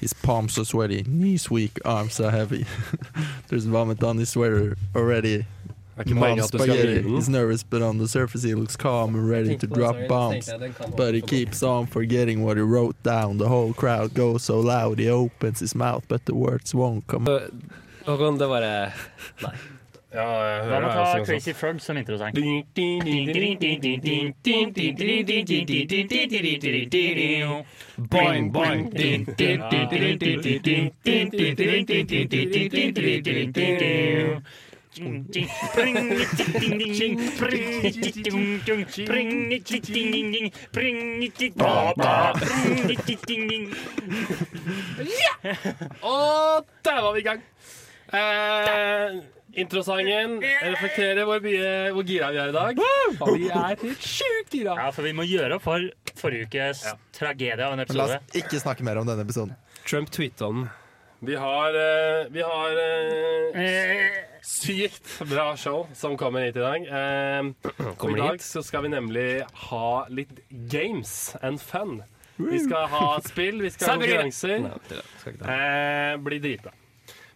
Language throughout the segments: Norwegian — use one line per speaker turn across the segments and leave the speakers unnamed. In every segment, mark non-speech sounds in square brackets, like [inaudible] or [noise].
His palms are sweaty, knees weak, arms are heavy. [laughs] There's vomit on his sweater already.
Det er ikke
Mom's
poenget at du skal
spaghetti.
lide
He's
den.
nervous, but on the surface he looks calm and ready to drop bombs. But he keeps on forgetting what he wrote down. The whole crowd goes so loud he opens his mouth, but the words won't come out.
Håkon, det bare
Ja, jeg
La
hører
meg
det. altså.
ta
Jeg synger
Crazy Frog som introsang.
Boing, boing. Og der var vi i gang. Eh, introsangen reflekterer hvor, mye, hvor gira vi er i dag. Og vi er helt sjukt gira.
Ja, for vi må gjøre opp for forrige ukes tragedie av en
Men la
episode.
oss ikke snakke mer om denne episoden.
Trump tweeta den.
Vi har, eh, vi har eh, sykt bra show som kommer hit i dag.
[clears throat]
Eh, og I
Kommer det
dag
hit?
så skal vi nemlig ha litt games and fun. Vi skal ha spill, vi skal ha
Servere.
konkurranser.
Nei, det skal ikke det.
Eh, bli dritbra.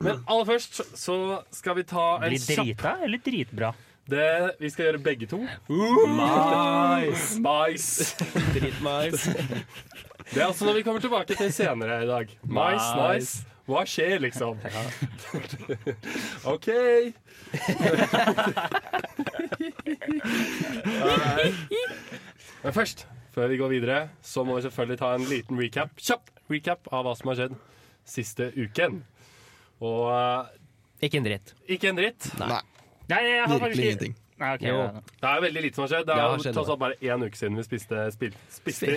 Men aller først så skal vi ta en
Blir
kjapp
drita eller dritbra?
det, Vi skal gjøre begge to. Nice! nice.
Dritmais.
[laughs] Det er altså når vi kommer tilbake til senere i dag. Nice, nice. Hva skjer, [laughs] liksom? OK. Nei. Men først, før vi går videre, så må vi selvfølgelig ta en liten recap. Kjapp recap av hva som har skjedd siste uken. Og eh,
Ikke en dritt.
ikke en dritt.
Nei,
Nei, jeg har faktisk
virkelig ingenting.
Nei, ok,
Jo.
ja, ja.
Det er veldig lite som har skjedd. Det
Det
er
har
jo
skjedd
tross
noe.
alt bare én uke siden vi spiste spill... Spiste,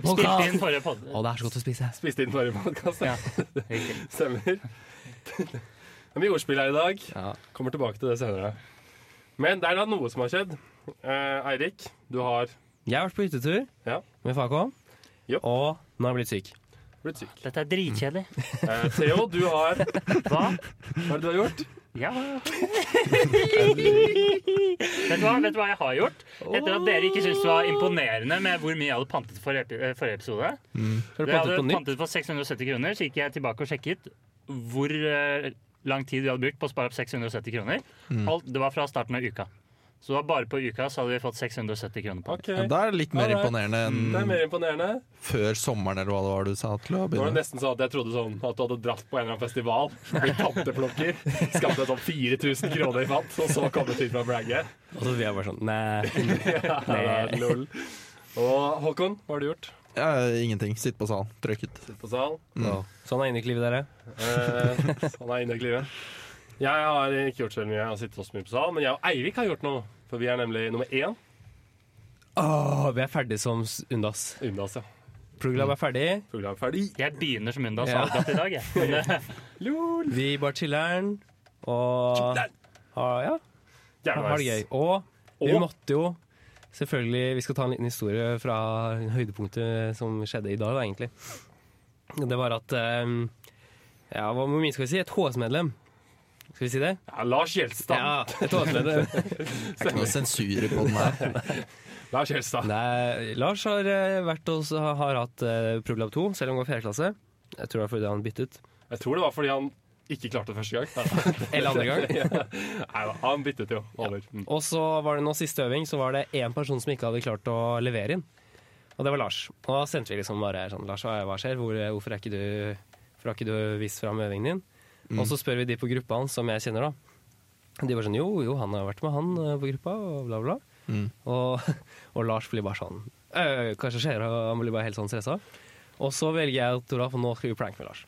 Spilte inn
podkast.
forrige podd.
Å, det er så godt å spise.
spiste inn forrige podkast.
Ja, riktig.
[laughs] Stemmer. [laughs] Men vi ordspill her i dag.
Ja.
Kommer tilbake til det senere. Men det er da noe som har skjedd. Eh, Eirik, du har
Jeg har vært på hyttetur
Ja.
med Fakon,
Jo.
og nå har jeg blitt syk.
blitt syk.
Dette er dritkjedelig.
Eh, Theo, du har Hva
Hva?
er det du har gjort?
Ja. vet, du hva, vet du hva jeg har gjort? Etter at dere ikke syntes det var imponerende med hvor mye jeg hadde pantet for epi- eh, forrige episode
Har du
Jeg
pantet
hadde
på nytt?
pantet for 670 kroner, så gikk jeg tilbake og sjekket hvor eh, lang tid vi hadde brukt på å spare opp 670 kroner.
Mm.
Alt, det var fra starten av uka. Så det var bare på uka så hadde vi fått 670 kroner på.
OK.
Ja,
Det
da er Mm, det litt mer
Alright.
imponerende
er
enn
mer imponerende.
før sommeren, eller hva det var du sa til å
Nå var det
begynne.
nesten sånn at jeg trodde sånn at du hadde dratt på en eller annen festival, blitt tanteplukker, skaffet deg sånn 4000 kroner i fant, og så kommet hit fra Bragge.
Og så vi er bare sånn Nei.
Ja, [laughs] lol. Og Håkon, hva har du gjort?
Ja, ingenting. Sitt på salen. Trøkket.
Sitt på sal.
Nå. Sånn er inneklivet, dere.
Eh, sånn er inne i livet. Jeg har ikke gjort så veldig mye. Jeg har sittet også mye på sal, men jeg og Eirik har gjort noe. For vi er nemlig nummer én.
Åh, vi er ferdig som s- undas.
Unna oss, ja.
Program er ferdig.
Fugla er ferdig.
Jeg begynner som Undas
Ja.
Algat i dag, jeg. Men, eh,
Lol.
Vi bare chiller'n og har, ja, har det gøy. Og vi
Og?
måtte jo selvfølgelig Vi skal ta en liten historie fra høydepunktet som skjedde i dag, da, egentlig. Det var at eh, Ja, hva hvor mye skal vi si? Et HS-medlem. Skal vi si det?
Ja, Lars Gjelstad.
[laughs] Ja, et HS-medlem.
Det er ikke noe sensur på den her. [laughs]
Lars Gjelstad.
Nei, Lars har eh, vært og har, har hatt eh, Prolab 2, selv om han går i fjerde klasse. Jeg tror det var fordi han byttet.
Jeg tror det var fordi han ikke klarte det første gang.
[laughs] Eller andre
[laughs]
gang.
Nei, da, han byttet jo over. Mm.
Og så var det nå siste øving, så var det én person som ikke hadde klart å levere inn. Og det var Lars. Og da sendte vi liksom bare sånn Lars, hva hva skjer? Hvor, hvorfor er ikke du, hvorfor har ikke du vist fram øvingen din? Og så spør vi de på gruppa hans, som jeg kjenner, da. De var sånn jo, jo, han har vært med han eh, på gruppa, og bla, bla.
Mm.
Og, [laughs] og Lars blir bare sånn «Øh, Kanskje skjer, og han blir bare helt sånn stressa. Og så velger jeg Tora, for nå skal vi pranke med Lars.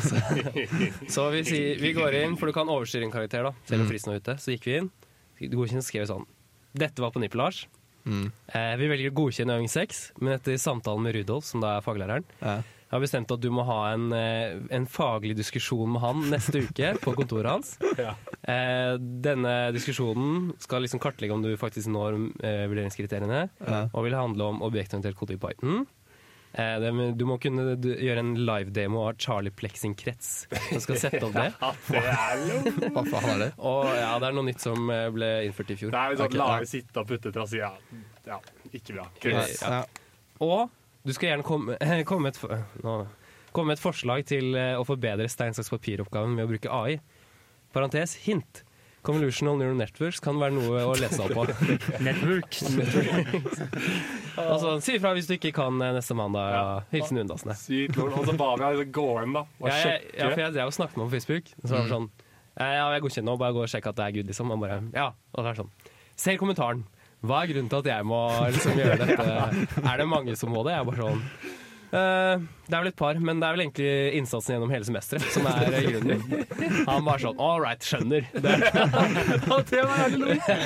[laughs] så vi, sier, vi går inn, for du kan overstyre en karakter, da, selv om fristen er ute. Så gikk vi inn. Godkjent skrev sånn Dette var på nippet, Lars.
Mm.
Eh, vi velger å godkjenne øving seks, men etter samtalen med Rudolf, som da er faglæreren,
Ja.
jeg har bestemt at du må ha en, eh, en faglig diskusjon med han neste uke på kontoret hans.
[laughs] Ja.
Eh, denne diskusjonen skal liksom kartlegge om du faktisk når eh, vurderingskriteriene,
Ja.
og vil handle om objektorientert kode i Python. Eh, det, men du må kunne d- gjøre en live-demo av Charlie Plex sin krets, som skal sette opp det.
[laughs] Ja, det er jo
Hva faen er det?
Og ja, det er noe nytt som eh, ble innført i fjor.
Det er jo sånn
Ok,
Lars sitte og putte til og si ja. ja. Ikke bra.
Nei,
Krøss.
[clears throat] ja. Og du skal gjerne komme, komme med et for- Nå. Kom med et forslag til eh, å forbedre stein, saks, papir-oppgaven med å bruke AI. Parentes hint. Convolutional neural networks kan være noe å lese opp på.
Networks.
altså, si ifra hvis du ikke kan eh, neste mandag.
Ja.
Hilsen Undasene.
Sykt lol. Og så ba vi henne gå hjem, da. Og
Ja, jeg,
sjekke.
ja, for jeg drev og snakket med ham på Facebook. Så
Mm.
var det sånn eh, Ja, jeg godkjenner nå, bare gå og sjekke at det er good, liksom. Han bare Ja. Og det er sånn Ser kommentaren. Hva er grunnen til at jeg må liksom
[laughs]
gjøre dette? Er det mange som må det? Jeg er bare sånn eh, det er vel et par, men det er vel egentlig innsatsen gjennom hele semesteret som
[laughs]
er eh, grunnen. Han bare sånn All right, skjønner. Det,
Og det var jævlig lol.
Nei,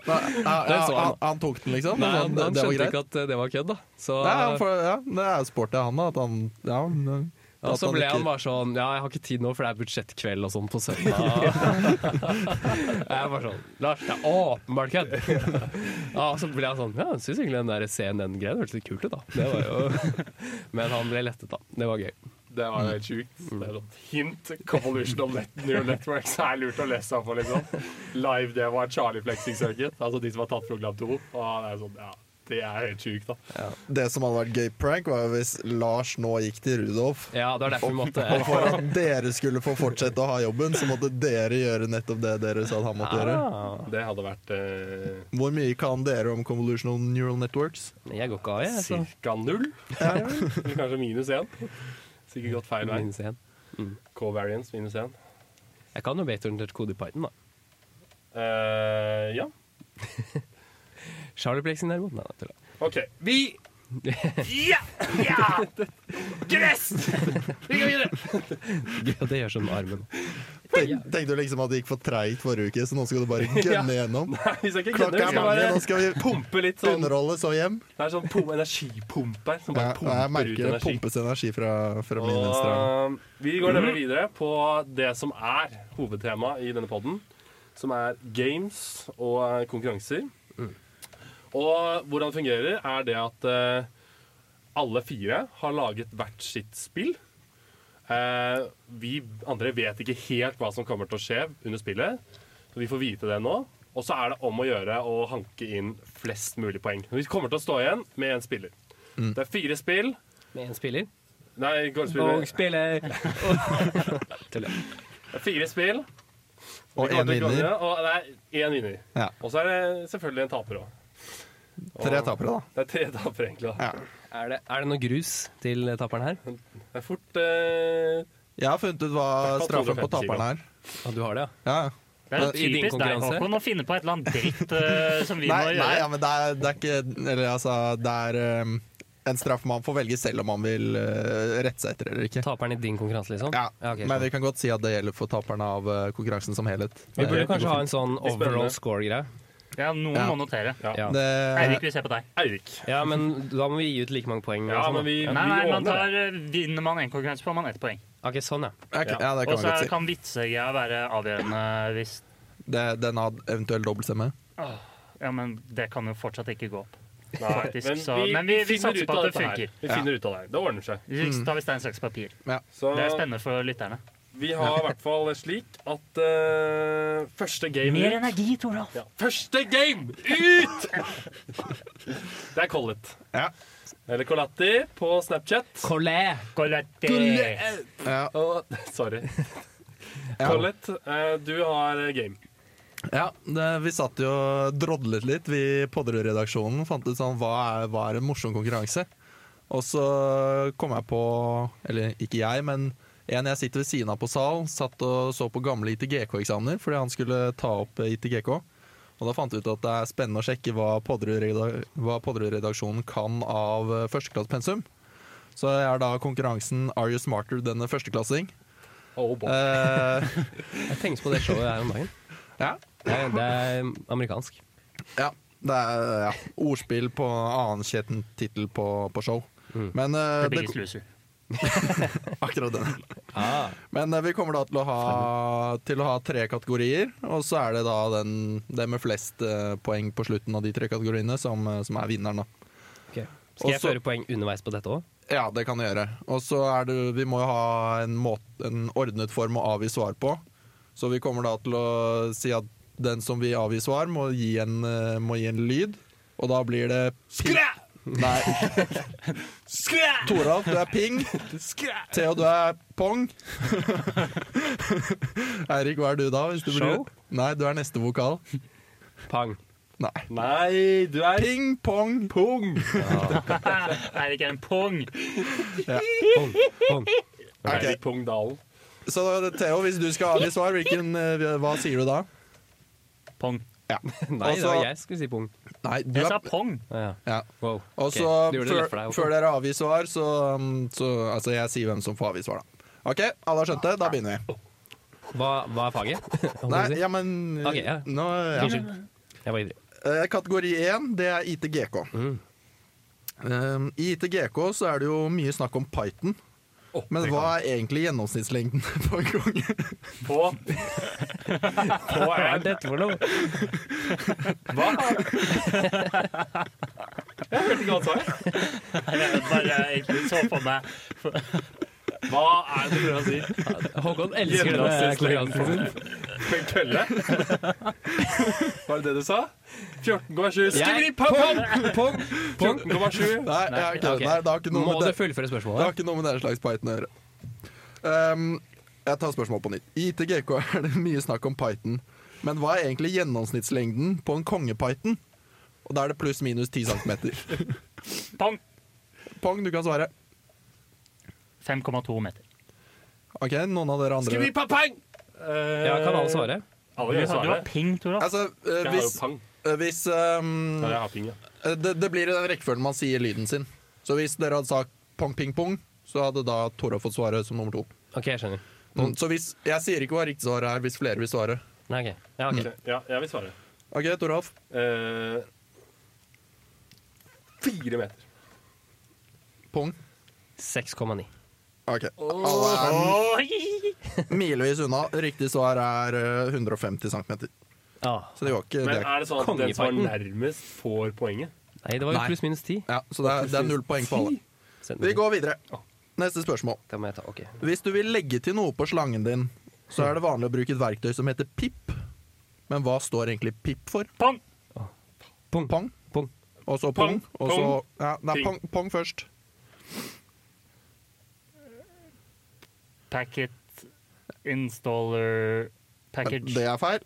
ja,
Den så
ja,
han.
han, han tok den, liksom?
Nei,
sånn, det,
han, han
det var
skjønte
greit.
ikke at eh, det var kødd, da. Så,
Nei, han får, ja, det er sporty av han, da. At han ja, men- eh,
og
at
så ble han
ikke-
bare sånn Ja, jeg har ikke tid nå, for det er budsjettkveld og sånn
[laughs]
på søndag. [laughs] Jeg er bare sånn Lars, det er åpenbart
[laughs]
kødd! Ja, og så ble han sånn Ja, jeg syns egentlig den der CNN-greien hørtes litt kult ut, da. Det var jo [laughs] Men han ble lettet, da. Det var gøy.
Det var jo helt sjukt.
Mm.
Det er sånn Hint Convolution of net Neural Networks er lurt å lese av for, liksom. Live det var Charlie Flexing Circuit, altså de som har tatt program to hop. Og det er sånn, ja, det er helt sjukt, da.
Det som hadde vært gøy prank, var jo hvis Lars nå gikk til Rudolf.
Ja, det var derfor vi måtte
Og for at dere skulle få fortsette å ha jobben, så måtte dere gjøre nettopp det dere sa at han måtte gjøre.
ah,
Det hadde vært eh,
Hvor mye kan dere om convolutional neural networks?
Jeg går ikke av, jeg. Så.
cirka null. [laughs] Eller kanskje minus én. Sikkert gått feil vei.
Minus én.
K-variance minus én.
Jeg kan jo Batorn-tert kode i Python, da.
Eh, ja.
Charlie Plexin derimot, nei, nei, tulla.
OK. Vi [laughs] Ja! Ja! Gress! Vi går videre.
Ja, Det gjør sånn med armen.
Tenk, tenkte du liksom at det gikk for treigt forrige uke, så nå skal du
[laughs]
bare
Ja.
gønne gjennom?
Vi skal ikke
Klokka er
kødde. Vi skal
mange, nå
bare
skal vi
pumpe litt sånn.
underholde, så hjem.
Det er sånn pum- energipump her som
Jeg,
bare
jeg
pumper ut
merker det
energi.
pumpes energi fra, fra min venstre arm.
Og vi går nemlig videre på det som er hovedtemaet i denne podden, som er games og eh, konkurranser. Og hvordan det fungerer, er det at eh, alle fire har laget hvert sitt spill. Eh, vi andre vet ikke helt hva som kommer til å skje under spillet, så vi får vite det nå. Og så er det om å gjøre å hanke inn flest mulig poeng. Vi kommer til å stå igjen med én spiller. Det er fire spill.
Med én spiller.
Nei, golfspiller.
Og spiller! [laughs] Tuller.
Det er Fire spill. Vi
Og
kommer
én
til å
vinner.
krangle, Og det er én vinner.
Ja.
Og så er det selvfølgelig en taper òg.
Tre tapere, da.
Det er tre [laughs] tapere, egentlig. da.
Ja.
Er det, er det noe grus til taperen her?
Det er fort eh,
Jeg har funnet ut hva
Takk for
straffen på
250 kilo.
taperen er.
Å, du har det, ja?
Ja. ja.
Det er jo
I din
typisk deg,
konkurranse?
Håkon, å finne på et eller annet dritt eh, som vi
Nei,
må
nei
gjøre.
ja, men det er, det er ikke Eller altså, det er um, en straff man får velge selv om man vil eh, rette seg etter eller ikke.
Taperen i din konkurranse, liksom?
Ja,
ok,
Men
skjønner.
vi kan godt si at det gjelder for taperne av eh, konkurransen som helhet. Eh,
Vi burde
Det-
kanskje ha en sånn
er spennende.
overall score-greie.
Ja, noen
Ja.
må notere.
ja.
Ja.
Eirik,
det,
vi ser på deg.
Eirik.
ja, men da må vi gi ut like mange poeng.
Ja,
og sånn,
men vi,
Nei, nei,
vi
man
ordner
tar, eh, vinner man én konkurranse, får man ett poeng.
da. Ok, sånn, ja.
ok, ja, det kan
Og
man
så
godt si.
kan vitsegreia være avgjørende hvis
Det, den har eventuell dobbeltstemme.
Ja, men det kan jo fortsatt ikke gå opp.
det.
[laughs] faktisk, så- men vi- vi
finner
satser
ut
på
av
at det
dette her.
funker.
Vi finner ut av det. her. Det ordner seg.
Mm.
Så tar vi stein, saks, papir.
Ja.
Så
Det er spennende for lytterne.
vi har i hvert fall slik at eh, første game
Mer
ut
energi, Toralf!
ja. Første game ut! det er Collet.
Ja.
Eller Colatti på Snapchat. Eh,
Colé!
Colette!
Ja.
Og- [laughs] Sorry.
Ja.
Collet, eh, du har game.
Ja, det, vi satt jo og drodlet litt, vi podderredaksjonen. Fant ut sånn, hva er, hva er en morsom konkurranse? Og så kom jeg på, eller ikke jeg, men en jeg sitter ved siden av på sal, satt og så på gamle ITGK-eksamener fordi han skulle ta opp eh, ITGK. Og da fant jeg ut at det er spennende å sjekke hva podderreda- hva podderredaksjonen kan av eh, førsteklassepensum. Så jeg har da konkurransen Are you smarter than a førsteklassing?
Oh, boy.
Eh, [laughs]
Jeg tenkte på det showet her om dagen.
ja.
Det er, det er amerikansk.
Ja, det er ja, ordspill på annen tittel på, på show. Men, eh,
The
det,
biggest [laughs] loser.
[laughs] akkurat den. Men eh, vi kommer da til å, ha, til å ha tre kategorier, og så er det da den, det med flest eh, poeng på slutten av de tre kategoriene som, eh, som er vinneren. da.
Ok. Skal jeg
Også-
føre poeng underveis på dette òg?
Ja, det kan du gjøre. Og så er det Vi må jo ha en, måte, en ordnet form å avgi svar på. Så vi kommer da til å si at den som vil avgi svar, må gi en, eh, må gi en lyd. Og da blir det pi-
Skræ!
Nei. Toralf, du er ping. Theo, du er pong. [laughs] Eirik, hva er du da? Hvis du blir-
Show?
Nei, du er neste vokal.
Pang.
Nei.
Nei, du er
Ping, pong.
pung!
Eirik er en pong.
Pong.
[laughs]
Pong.
Eirik
Ok.
Pungdalen.
Så Theo, hvis du skal avgi svar, hvilken, eh, hva sier du da?
Pong.
Også-
Nei, det var jeg som skulle si pong.
Nei, du
Jeg sa
er
pong.
Ja.
ja.
Wow.
Og
Ok,
så,
du gjorde det
før,
lett for deg,
før
Håkon.
dere avgir svar, så, um, så Altså, jeg sier hvem som får avgi svar, da. OK, alle har skjønt det? Da begynner vi.
Hva, hva er faget? Holdt jeg
[laughs] Nei,
på å si.
ja, men
Ok, ja.
nå, ja.
Unnskyld. Jeg var ivrig.
Eh, Kategori én, det er ITGK.
Mm.
Um, I ITGK så er det jo mye snakk om Python. Men hva er egentlig gjennomsnittslengden [laughs] på en konge?
På
[laughs]
Hva er dette for noe?
hva? Jeg hørte ikke hva han sa.
Jeg bare egentlig så på meg
Hva er det du prøver å si?
Håkon elsker denne konkurransen sin.
En kølle? Var det det du sa? 14,7.
Jeg-
Skriv pung!
Pong, pong, pong.
14,7.
Nei, ja, ok,
ok.
nei, det har ikke noe
Må
med
du
det,
fullføre
det har
spørsmålet?
ikke noe med den slags Python å gjøre. Um, jeg tar spørsmålet på nytt. I ITGK er det mye snakk om Python. Men hva er egentlig gjennomsnittslengden på en kongepython? Og da er det pluss-minus 10 cm.
pong.
Pong, du kan svare.
5,2 meter.
Ok, noen av dere andre
Skriv pang! Eh,
Ja, kan alle svare?
Alle
Du
kan
sa- du
svare.
var ping, Toralf.
Altså, eh,
Jeg har jo
hvis,
pang.
eh, hvis um,
Ja, jeg har ping, ja.
eh, det, det blir i den rekkefølgen man sier lyden sin. Så hvis dere hadde sagt pong, ping, pong, så hadde da Tora fått svaret som nummer to.
OK, jeg skjønner.
Mm. Så hvis, jeg sier ikke hva riktig svar er, hvis flere vil svare.
Nei, ok. Ja, ok.
Mm.
Ok, Ja, jeg vil svare.
OK, Toralf.
Eh, Fire meter.
Pong.
6,9.
OK. Alle er
Oi!
milevis unna. Riktig svar er eh, 150 cm.
Ah.
Så det var ikke
Men
det.
er det sånn at den som var
Kongeparten.
nærmest, får poenget?
Nei, det var jo
Nei.
pluss minus 10.
Ja, så det er, det er null poeng på alle.
Send
Vi
den.
går videre. Neste spørsmål.
Da må jeg ta, ok.
Hvis du vil legge til noe på slangen din, så er det vanlig å bruke et verktøy som heter pip. Men hva står egentlig pip for?
Pong.
Pong,
Pong,
pong.
og så pong,
Pong,
og så
pong,
ja, Nei,
ping.
pong, pong først.
Packet installer package.
Det er feil.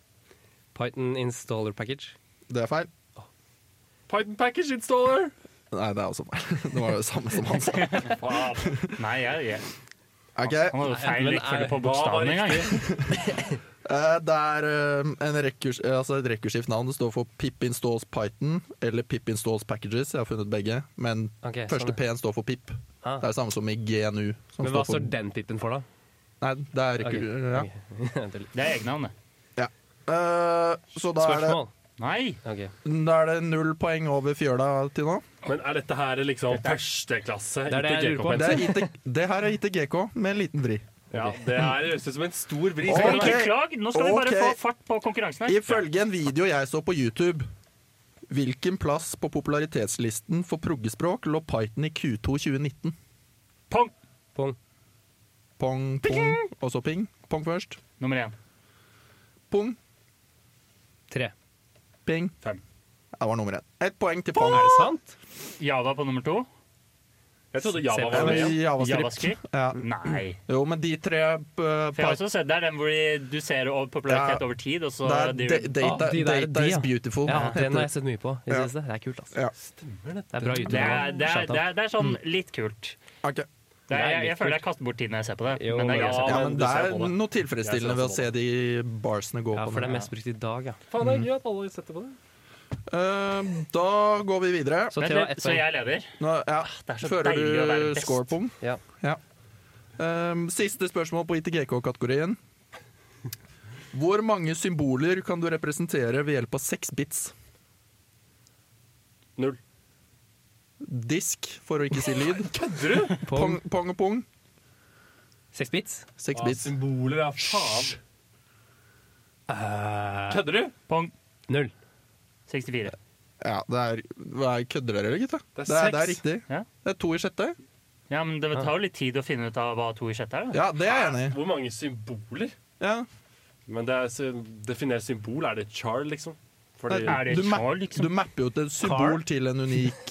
Python installer package.
Det er feil.
Python Package Installer!
Nei, det er også feil. [laughs] Det var det samme som han sa.
Faen.
Nei, jeg, jeg.
Ok,
han hadde jo
men
feil
er-
rekkefølge på
hva var
bokstavene engang.
Eh, Det er eh, en rekkurs, eh, altså et rekkursivt navn. Det står for pip installs Python eller pip installs packages. Jeg har funnet begge, men
Ok,
første
sånn,
P-en står for pip.
Ah.
Det er det samme som i GNU. Som
Men hva
for,
står den pipen for, da?
Nei, det er rekkur... Ja.
Ok. [laughs]
Det er egennavnet.
ja. Eh, så da er,
Spørsmål?
Nei!
Ok.
det, da er det null poeng over fjøla til nå.
Men er dette her liksom førsteklasse?
Det er det jeg lurer på.
Det, er IT, det her er ITGK med en liten vri.
Ja, det her høres ut som en stor vri.
Ok.
Men ikke klag! Nå skal vi bare
Ok.
få fart på konkurransen her.
Ifølge en video jeg så på YouTube Hvilken plass på popularitetslisten for proggespråk lå Python i Q2 2019?
Pong!
Pong.
Pong, pong, og så ping. Pong først.
Nummer én.
Pong,
Tre.
ping.
Fem.
Det var nummer én. Ett poeng til pong.
Er det sant?
Java på nummer to.
Jeg trodde Java
Ja,
var
men
med. ja.
Javascript.
Javascript.
Ja.
Nei.
Jo, men de tre uh,
For jeg har også sett Det er den hvor de- du ser over popularitet
Ja.
over tid, og så
Det er
driver-
da- data,
Ah, de der,
data
de,
is
ja.
beautiful. [laughs]
Ja,
heter
den har jeg
det.
sett mye på. i Det
Ja.
siste. Det er kult, altså.
Ja.
Det er bra YouTube.
det er, det, er,
Shout out.
det, er, det er sånn litt kult.
Ok.
Det er,
Mm. Det er
jeg, jeg
litt
føler
kult.
jeg kaster bort tid når jeg ser på det.
Jo,
men det er gøy å se
ja,
men
men
du
det er
ser på det.
noe
Jeg ser
tilfredsstillende ved å
også
se de barsene gå
Ja,
på.
for det
den.
er mest brukt i dag, ja.
Faen, det er gøy at alle setter på det.
Eh, da går vi videre.
Så
Vent
Theo
litt,
har ett
så
poeng.
jeg leder.
Nå, ja.
det er så
Fører
deilig å være
du
best.
scorepong?
Ja.
Ja. Ehm, siste spørsmål på ITGK-kategorien. Hvor mange symboler kan du representere ved hjelp av seks bits?
Null.
Disk, for å ikke si lyd.
Kødder du?
Pong,
Pong.
pong og pong.
Seks bits?
Seks
Ah,
bits.
symboler, ja. Faen. Kødder du?
Pong
Null.
64.
Ja, det er, hva er Kødder dere, eller, gutta?
Det er
det, er, det er
seks.
riktig.
Ja.
Det er to i sjette.
Ja, men Det tar jo litt tid å finne ut av hva to i sjette er. da.
Ja, det er jeg enig i.
Hvor mange symboler?
Ja.
Men det er, sy- definer symbol. Er det char, liksom? Fordi
Nei,
Er det
du,
et
map,
sjal, liksom?
du mapper jo ut et symbol til en unik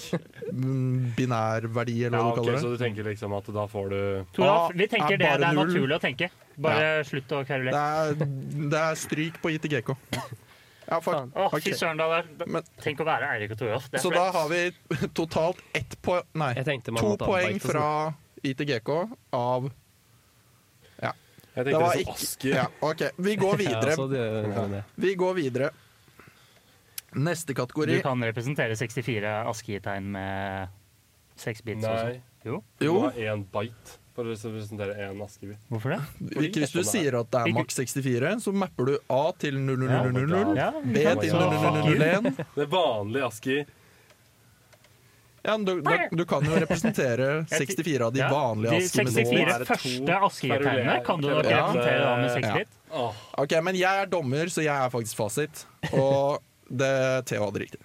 mm, binær verdi, eller
ja,
hva du
ok,
kaller det.
Så du tenker liksom at da får du
Toralf,
Ah,
vi tenker
er
det
bare
det er
null.
naturlig å tenke. Bare slutt
Det
å kverulere.
er, det er stryk på IT Gekko. Ja, fuck.
Å,
Ok.
fy søren, da. det er-
Men,
Tenk å være Eirik og Toralf. Det er
så da har vi totalt ett poeng Nei,
Jeg tenkte man
to
måtte
poeng
avbite sånn.
fra IT Gekko av
Jeg
Det
tenker
var ikke-
liksom Asker.
Ja, OK. Vi går
[laughs] Ja,
videre.
så det, det, det.
Vi går videre. Neste
Du
kategori
kan representere 64 ASCII-tegn med seks bits også.
Nei.
Jo,
Du må
Jo,
ha én bite for å representere én askebit.
hvorfor det?
ikke hvis du sier at det er maks 64, så mapper du A til 0000,
Ja,
B til
så-
0001
Det vanlige aski
Ja, men du, da- du kan jo representere 64 av de
Ja,
vanlige
de
ASCII. men nå-
64
er det to
første ASCII-tegnene
kverulerer-
kan du nok
kverulerer-
representere da med seks
Ja.
bit.
Åh,
Ok, men jeg er dommer, så jeg er faktisk fasit. Og det Theo hadde riktig.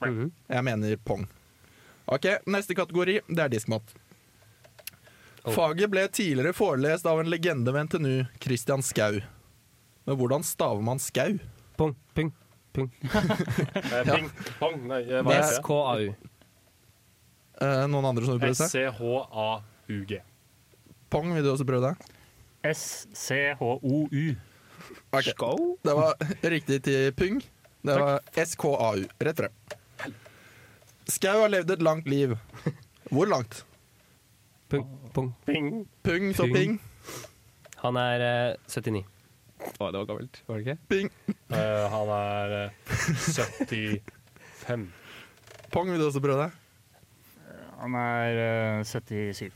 Mhm.
Jeg mener pong. Ok, neste kategori, det er diskmat.
Oh.
Faget ble tidligere forelest av en legende ved NTNU, Christian Skau. Men hvordan staver man Skau?
Pung, pung, pung.
eh, Ping, pong, nei, eh, hva heter det?
SKAU.
Eh, noen andre som vil prøve seg?
S-C-H-A-U-G.
Pong, vil du også prøve deg?
S-C-H-O-U.
Ok, Det var riktig til Pung. Det var SKAU. Rett frem. Skau har levd et langt liv. Hvor langt?
Pung, pung.
Ping.
Pung, så
Pung.
ping.
Han er eh, 79. Å, det var gammelt, var det ikke?
Ping.
Eh, han er eh, 75.
Pong, vil du også prøve deg?
Han er eh, 77.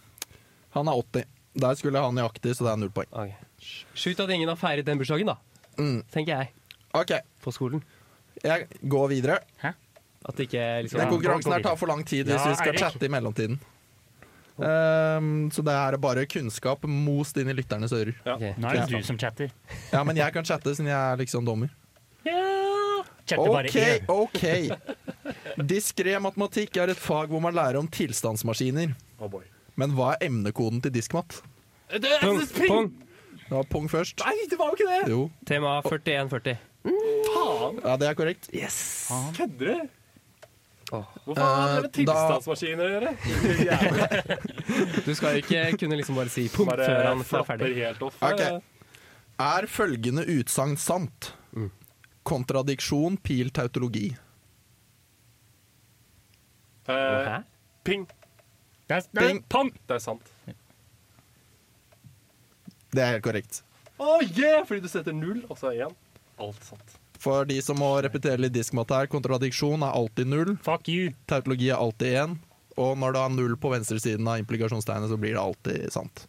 Han er 80. Der skulle han nøyaktig, så det er null poeng.
Ok. Sjukt at ingen har feiret den bursdagen, da.
Mm.
Tenker jeg.
OK,
På skolen.
jeg går videre.
At det ikke liksom
Den
Ja,
konkurransen
gå
her
videre.
tar for lang tid hvis
Ja,
vi skal
Eirik.
chatte i mellomtiden. Ehm, så det her er bare kunnskap most inn i lytternes ører.
Ja.
Ok.
Nå er det du som chatter.
Ja, men jeg kan chatte siden jeg er liksom dommer.
Chatter bare
OK,
én.
OK. Diskré matematikk er et fag hvor man lærer om tilstandsmaskiner.
Oh boy.
Men hva er emnekoden til diskmat?
Eh, Det,
Pung, pung!
Det var pong først.
Nei, det var jo ikke det!
Jo.
Tema 4140.
Faen,
Ja, det er korrekt.
kødder du?
Åh.
Hvorfor har det med
Eh, da-
tilstandsmaskiner å gjøre? Jævla,
Du skal ikke kunne liksom bare si pung
Bare
før han er
flapper
ferdig.
helt off.
Ok.
eh.
Er følgende utsagn sant? Kontradiksjon, pil, tautologi.
Eh,
Hæ?
ping.
Det er, det er
Ping.
pong!
Det er sant.
Det er helt korrekt.
Å, yeah! Fordi du setter null, og så er én. Alt sant.
For de som må repetere litt diskmat her, kontradiksjon er alltid null,
Fuck you.
tautologi er alltid én, og når det er null på venstresiden av implikasjonstegnet, så blir det alltid sant.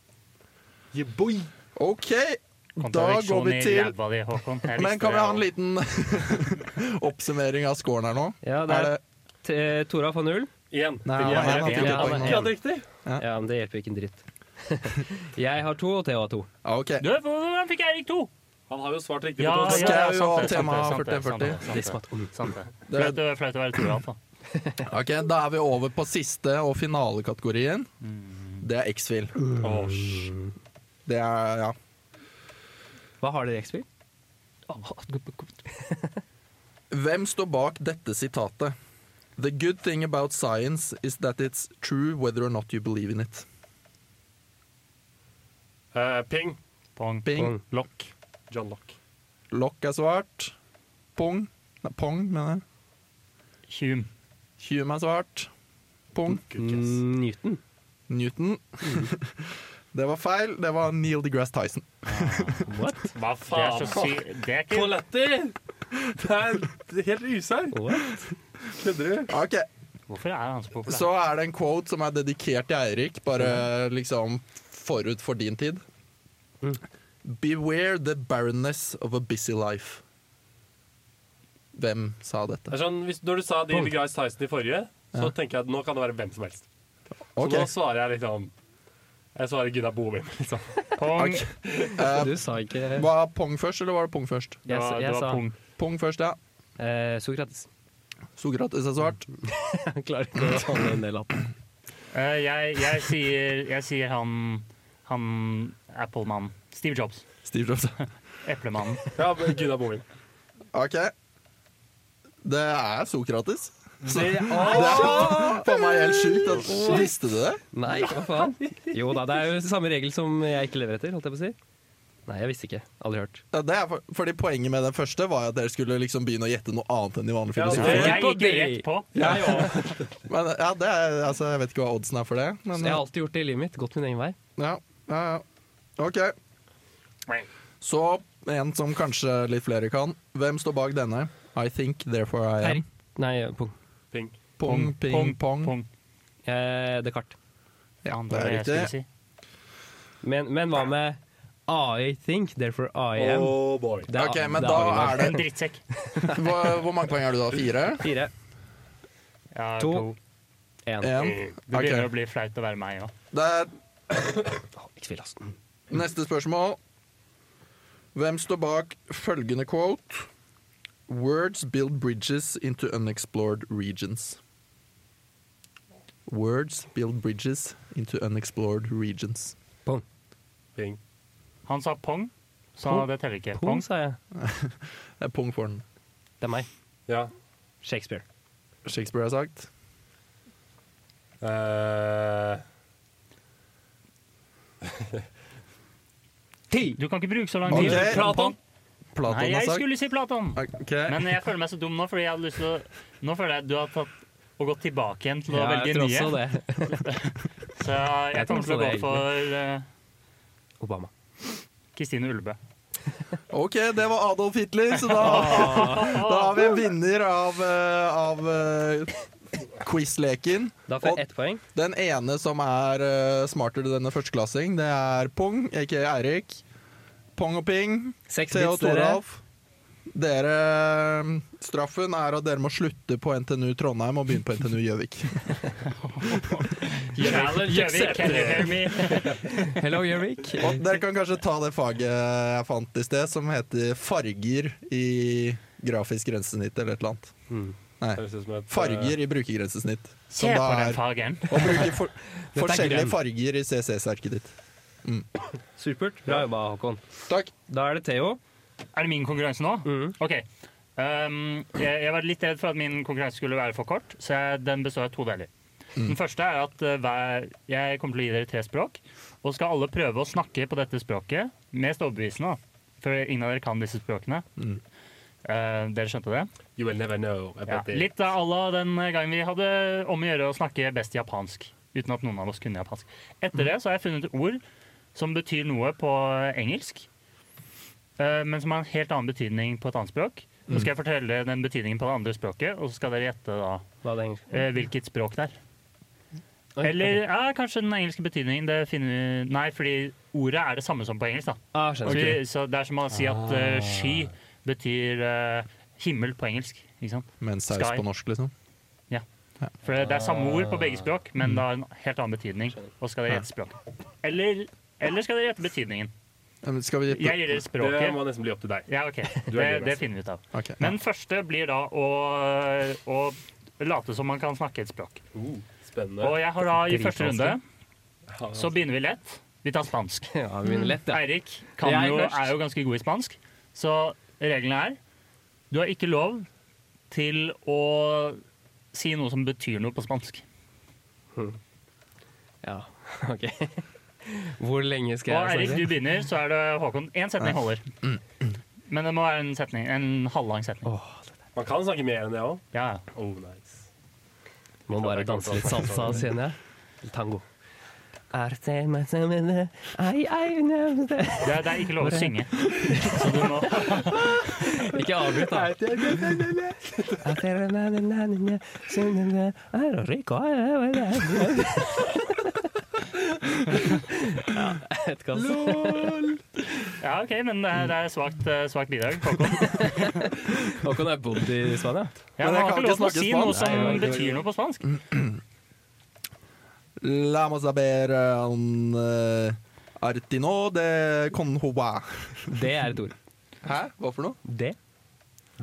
Yeah, boy!
OK, da går
Kontradiksjon
vi
i
til
ræva di, Håkon. Jeg
Men
visste
kan vi
det,
ha en
jeg
liten [laughs] oppsummering av scoren her nå?
Ja, det er, T- eh, Tora får null.
Én.
Nei, han har
Ping, ja,
en, han
ja.
fikk
Ja,
et
han
poeng
har
nå.
Ja, det er riktig.
Ja, men det hjelper ikke en dritt. Jeg har to, og Theo har to.
Ja, OK.
Du, Hvordan fikk Eirik to?
Han har jo svart riktig.
Ja,
på to
ja,
Skal
spørsmål.
ja,
jo
sant
ha
det, sant
tema
det, sant det,
40.
sant det, sant
Diskmat. Mm.
det, sant det.
Det-
Flaut å- Flaut å være altså. Toralf, da.
Ok, Da er vi over på siste og finalekategorien. Det er X-Fil.
Åh, sh-
Det er ja.
Hva har dere i X-Fil?
Hvem står bak dette sitatet? The good thing about science is that it's true whether or not you believe in it.
eh, ping.
Pong.
Ping.
Lokk.
John Locke.
Lokk er svart. Pong Nei, pong, mener jeg.
Hume.
Hume er svart. Pong.
Good guess.
Mm, Newton.
Newton. [laughs] det var feil. Det var Neil deGrasse Tyson.
What?
Hva
Det er
faen?
så sy... Det er ikke
Toaletter! Det er helt usær.
What?
Kødder du?
Ok,
Hvorfor er han så populær?
Så er det en quote som er dedikert til Eirik, bare liksom forut for din tid.
Mm.
Beware the barrenness of a busy life. Hvem sa
Det
dette?
er sånn, hvis, når du sa Neil Grace Tyson i forrige, så tenker jeg at nå kan det være hvem som helst. Så
Ok,
nå svarer jeg liksom Jeg svarer Gunnar Bovim. Liksom.
Pong.
Ok.
Så du sa ikke jeg,
Var pong først, eller var det pong først?
Det
sa-
var, det
jeg
var
sa
pung.
Pong først, ja.
eh, Sokrates. [laughs]
Sokrates er svart.
Jeg klarer ikke å ta ned en del lappen.
Eh, jeg, jeg, sier, jeg sier han Han Apple-mannen. Steve Jobs.
[laughs] Steve Jobs.
[laughs]
Eplemannen.
Ja, men Gunnar Bovim.
Ok. Det er Sokrates. [laughs]
Det,
Det er faen meg helt sjukt. at- Visste du det?
nei, hva faen? Jo da, det er jo samme regel som jeg ikke lever etter, holdt jeg på å si. Nei, jeg visste ikke. Aldri hørt.
Ja, det er for, fordi Poenget med den første var jo at dere skulle liksom begynne å gjette noe annet enn de vanlige
Ja,
filosofene.
det-
Jeg
på
gikk
det.
rett på.
Jeg òg.
Men ja, det er, altså, Jeg vet ikke hva oddsen er for det. Men,
Så jeg har alltid gjort det i livet mitt. Gått min egen vei.
ja, ja, ja. OK. Så en som kanskje litt flere kan. Hvem står bak denne? I think, therefore I am.
Nei, pung.
Ping.
Pong, ping, pong.
pong.
Eh, Descartes.
Ja,
Det
det
var
er
det jeg skulle
riktig.
si.
Men, men hva med I think, therefore I am?
Oh boy.
Det
Ok, men
det
da
avhengig av-
er det-
En drittsekk.
Hvor, hvor mange poeng er du da? Fire?
Fire,
Ja,
To.
to.
én.
Én?
Det begynner
Ok.
å bli flaut å være meg òg.
Det er
Å, Ikke tvil, altså.
neste spørsmål. Hvem står bak følgende quote? Words build bridges into unexplored regions. Words build bridges into unexplored regions.
Pung.
Ping.
Han sa pong, så
Pong.
det teller ikke.
Pung,
Pong.
sa jeg.
Det er pung for den.
Det er meg.
Ja.
Shakespeare.
Shakespeare har sagt.
Eh,
Ti!
Du kan ikke bruke så lang
Ok.
tid.
Platon. Platon
Nei,
har
jeg
sagt.
skulle si Platon.
Ok.
Men jeg føler meg så dum nå, fordi jeg hadde lyst til å Nå føler jeg at du har tatt og gått tilbake igjen til å
Ja, jeg
velge
tror
nye.
også det.
Så jeg,
Jeg
kommer til å
tror
gå
også det,
for eh,
Obama.
Kristine Ulbø.
Ok, det var Adolf Hitler, så da, [laughs]
Ah.
da har vi en vinner av, eh, av eh, quiz-leken.
Da får
Og-
jeg ett poeng.
Den ene som er eh, smartere enn en førsteklassing, det er Pung, aka Eirik. Pong og Ping,
Seks
Theo
bits,
og
dere.
Toralf. Dere eh, Straffen er at dere må slutte på NTNU Trondheim og begynne på NTNU Gjøvik.
[laughs]
[laughs]
Challenge
Gjøvik, can you hear me?
[laughs] Hello, Gjøvik.
Og dere kan kanskje ta det faget jeg fant i sted, som heter farger i grafisk grensesnitt eller et eller annet.
Mm.
Nei.
høres ut som et, eh,
Farger i brukergrensesnitt.
Se
Som
på
da
den
er
fageren.
å bruke
[laughs]
for,
er
forskjellige
grønn.
farger i CCS-arket ditt.
Supert. Bra jobba, Håkon.
Takk.
Da er det Theo.
Er det min konkurranse nå?
Mm.
OK. Um, jeg, jeg var litt redd for at min konkurranse skulle være for kort, så jeg, den består av to deler. Den første er at eh, hver, jeg kommer til å gi dere tre språk, og så skal alle prøve å snakke på dette språket mest overbevisende. da. For ingen av dere kan disse språkene. Eh, dere skjønte det?
You will never know
Ja.
about it.
Litt à la den gangen vi hadde om å gjøre å snakke best japansk. Uten at noen av oss kunne japansk.
Mm.
Etter det så har jeg funnet et ord som betyr noe på engelsk, eh, men som har en helt annen betydning på et annet språk. Så
Mm.
skal jeg fortelle den betydningen på det andre språket, og så skal dere gjette da
Hva er det engelsk?
eh, hvilket språk det er.
Mm. Oi,
Eller
ok.
ja, kanskje den engelske betydningen. Det finner vi Nei, fordi ordet er det samme som på engelsk. da.
ah,
Så,
Skjønner.
vi, så Det er som å si at
Ah.
eh, sky betyr eh, himmel på engelsk. ikke sant?
Med en saus
Sky.
på norsk, liksom.
For det er samme ord på begge språk,
Mm.
men det har en helt annen betydning. Og skal dere gjette språket. Eller, eller skal dere gjette betydningen?
Ja, men Skal vi
Jeg gir dere
Det
språket.
må nesten bli opp til deg.
Ja,
[laughs]
ok.
Du
Det,
er altså.
det
lurest.
finner vi ut av.
Ok.
Men første blir da å, å late som man kan snakke et språk.
Uh, spennende.
Og jeg har da i første runde
Ja.
Så begynner vi lett. Vi
[laughs]
tar spansk.
Ja, vi begynner lett, ja.
Eirik kan
Jeg
jo,
først.
er jo ganske god i spansk, så reglene er Du har ikke lov til å si noe som betyr noe på spansk.
ja. [laughs] Ok. Hvor lenge skal
Og
jeg
Eirik, du
snakke?
begynner, så er det Håkon. Én setning holder. Men det må være en setning, en halvlang setning.
Åh,
Man kan snakke mer enn det òg.
Ja, ja.
Oh, nice.
Må bare danse litt salsa, kjenner jeg. Tango. Er det meg som en- Ei, ei, nei, det-
Det, er- det er ikke lov å synge. Så du må
Ikke avbryt, da. Er det meg som en- som en- er det Rico? Er det- er det- [laughs] Ja, jeg vet ikke, altså.
Ja, OK, men det er, det er svakt, eh, svakt bidrag. Håkon.
Håkon har bodd i
Ja,
Spania.
Men jeg
man har
kan
ikke lov til
ikke
å si
snakke spansk. Mm.
noe som
Nei, jeg kan ikke.
betyr noe på spansk.
La meg sabere an eh, artino de conhoba.
Det er et ord.
Hæ? Hva for noe?
Det?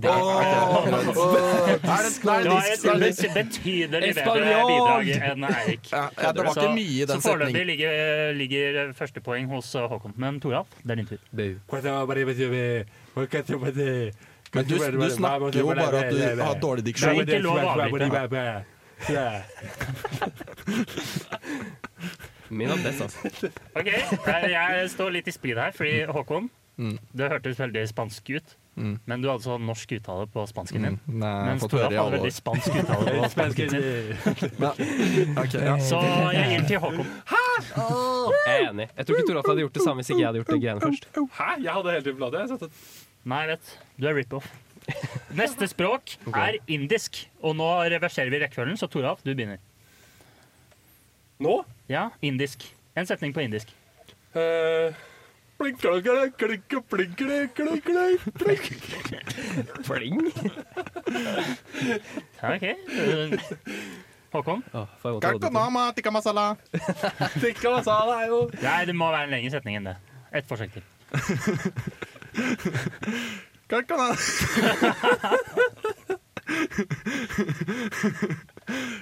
Åh, åh, er det nei,
Det var
disk,
et
det er disk.
bet- betydelig bedre
Espanol!
bidrag enn Eirik.
Ja, ja, det var
Så-
ikke mye i den
Så foreløpig
setningen.
ligger, ligger første poeng hos eh, Håkon. Men Toralf, det er din tur.
Bu.
Hva er det- hva er det- hva er det- hva er det- hva er det-
Men du, du snakker jo bare at du har dårlig
Det er
diksjon.
ikke lov å
Min var best, altså.
Ok, jeg- jeg står litt i splid her, fordi Håkon,
Mm.
det hørtes veldig spansk ut. Men du hadde sånn norsk uttale på spansken din.
Nei, Mm. jeg har
Mens
fått høre
Toralf
i
hadde
alle
veldig
år.
spansk
[laughs]
uttale på spansken sin. [laughs]
Men- ok, ja.
Så jeg gir den til Håkon.
Jeg er enig. Jeg tror ikke Toralf hadde gjort det samme hvis ikke jeg hadde gjort det greiene først.
Hæ? Jeg hadde hele tiden platt. Jeg satt et-
Nei, jeg vet. Du er rip-off. Neste
[laughs]
språk er indisk. Og nå reverserer vi rekkefølgen, så Toralf, du begynner.
Nå?
Ja, indisk. En setning på indisk.
Eh, plinkkalakkala, klikke, plinkele, klikkele, plink.
Fling!
[laughs]
Ja, ok. Eh, Håkon?
Åh, får jeg vondt i hodet.
Kakamama, tikka masala.
Tikka masala er jo
Nei, det må være en lengre setning enn det. Et forsøk til.
Kakana.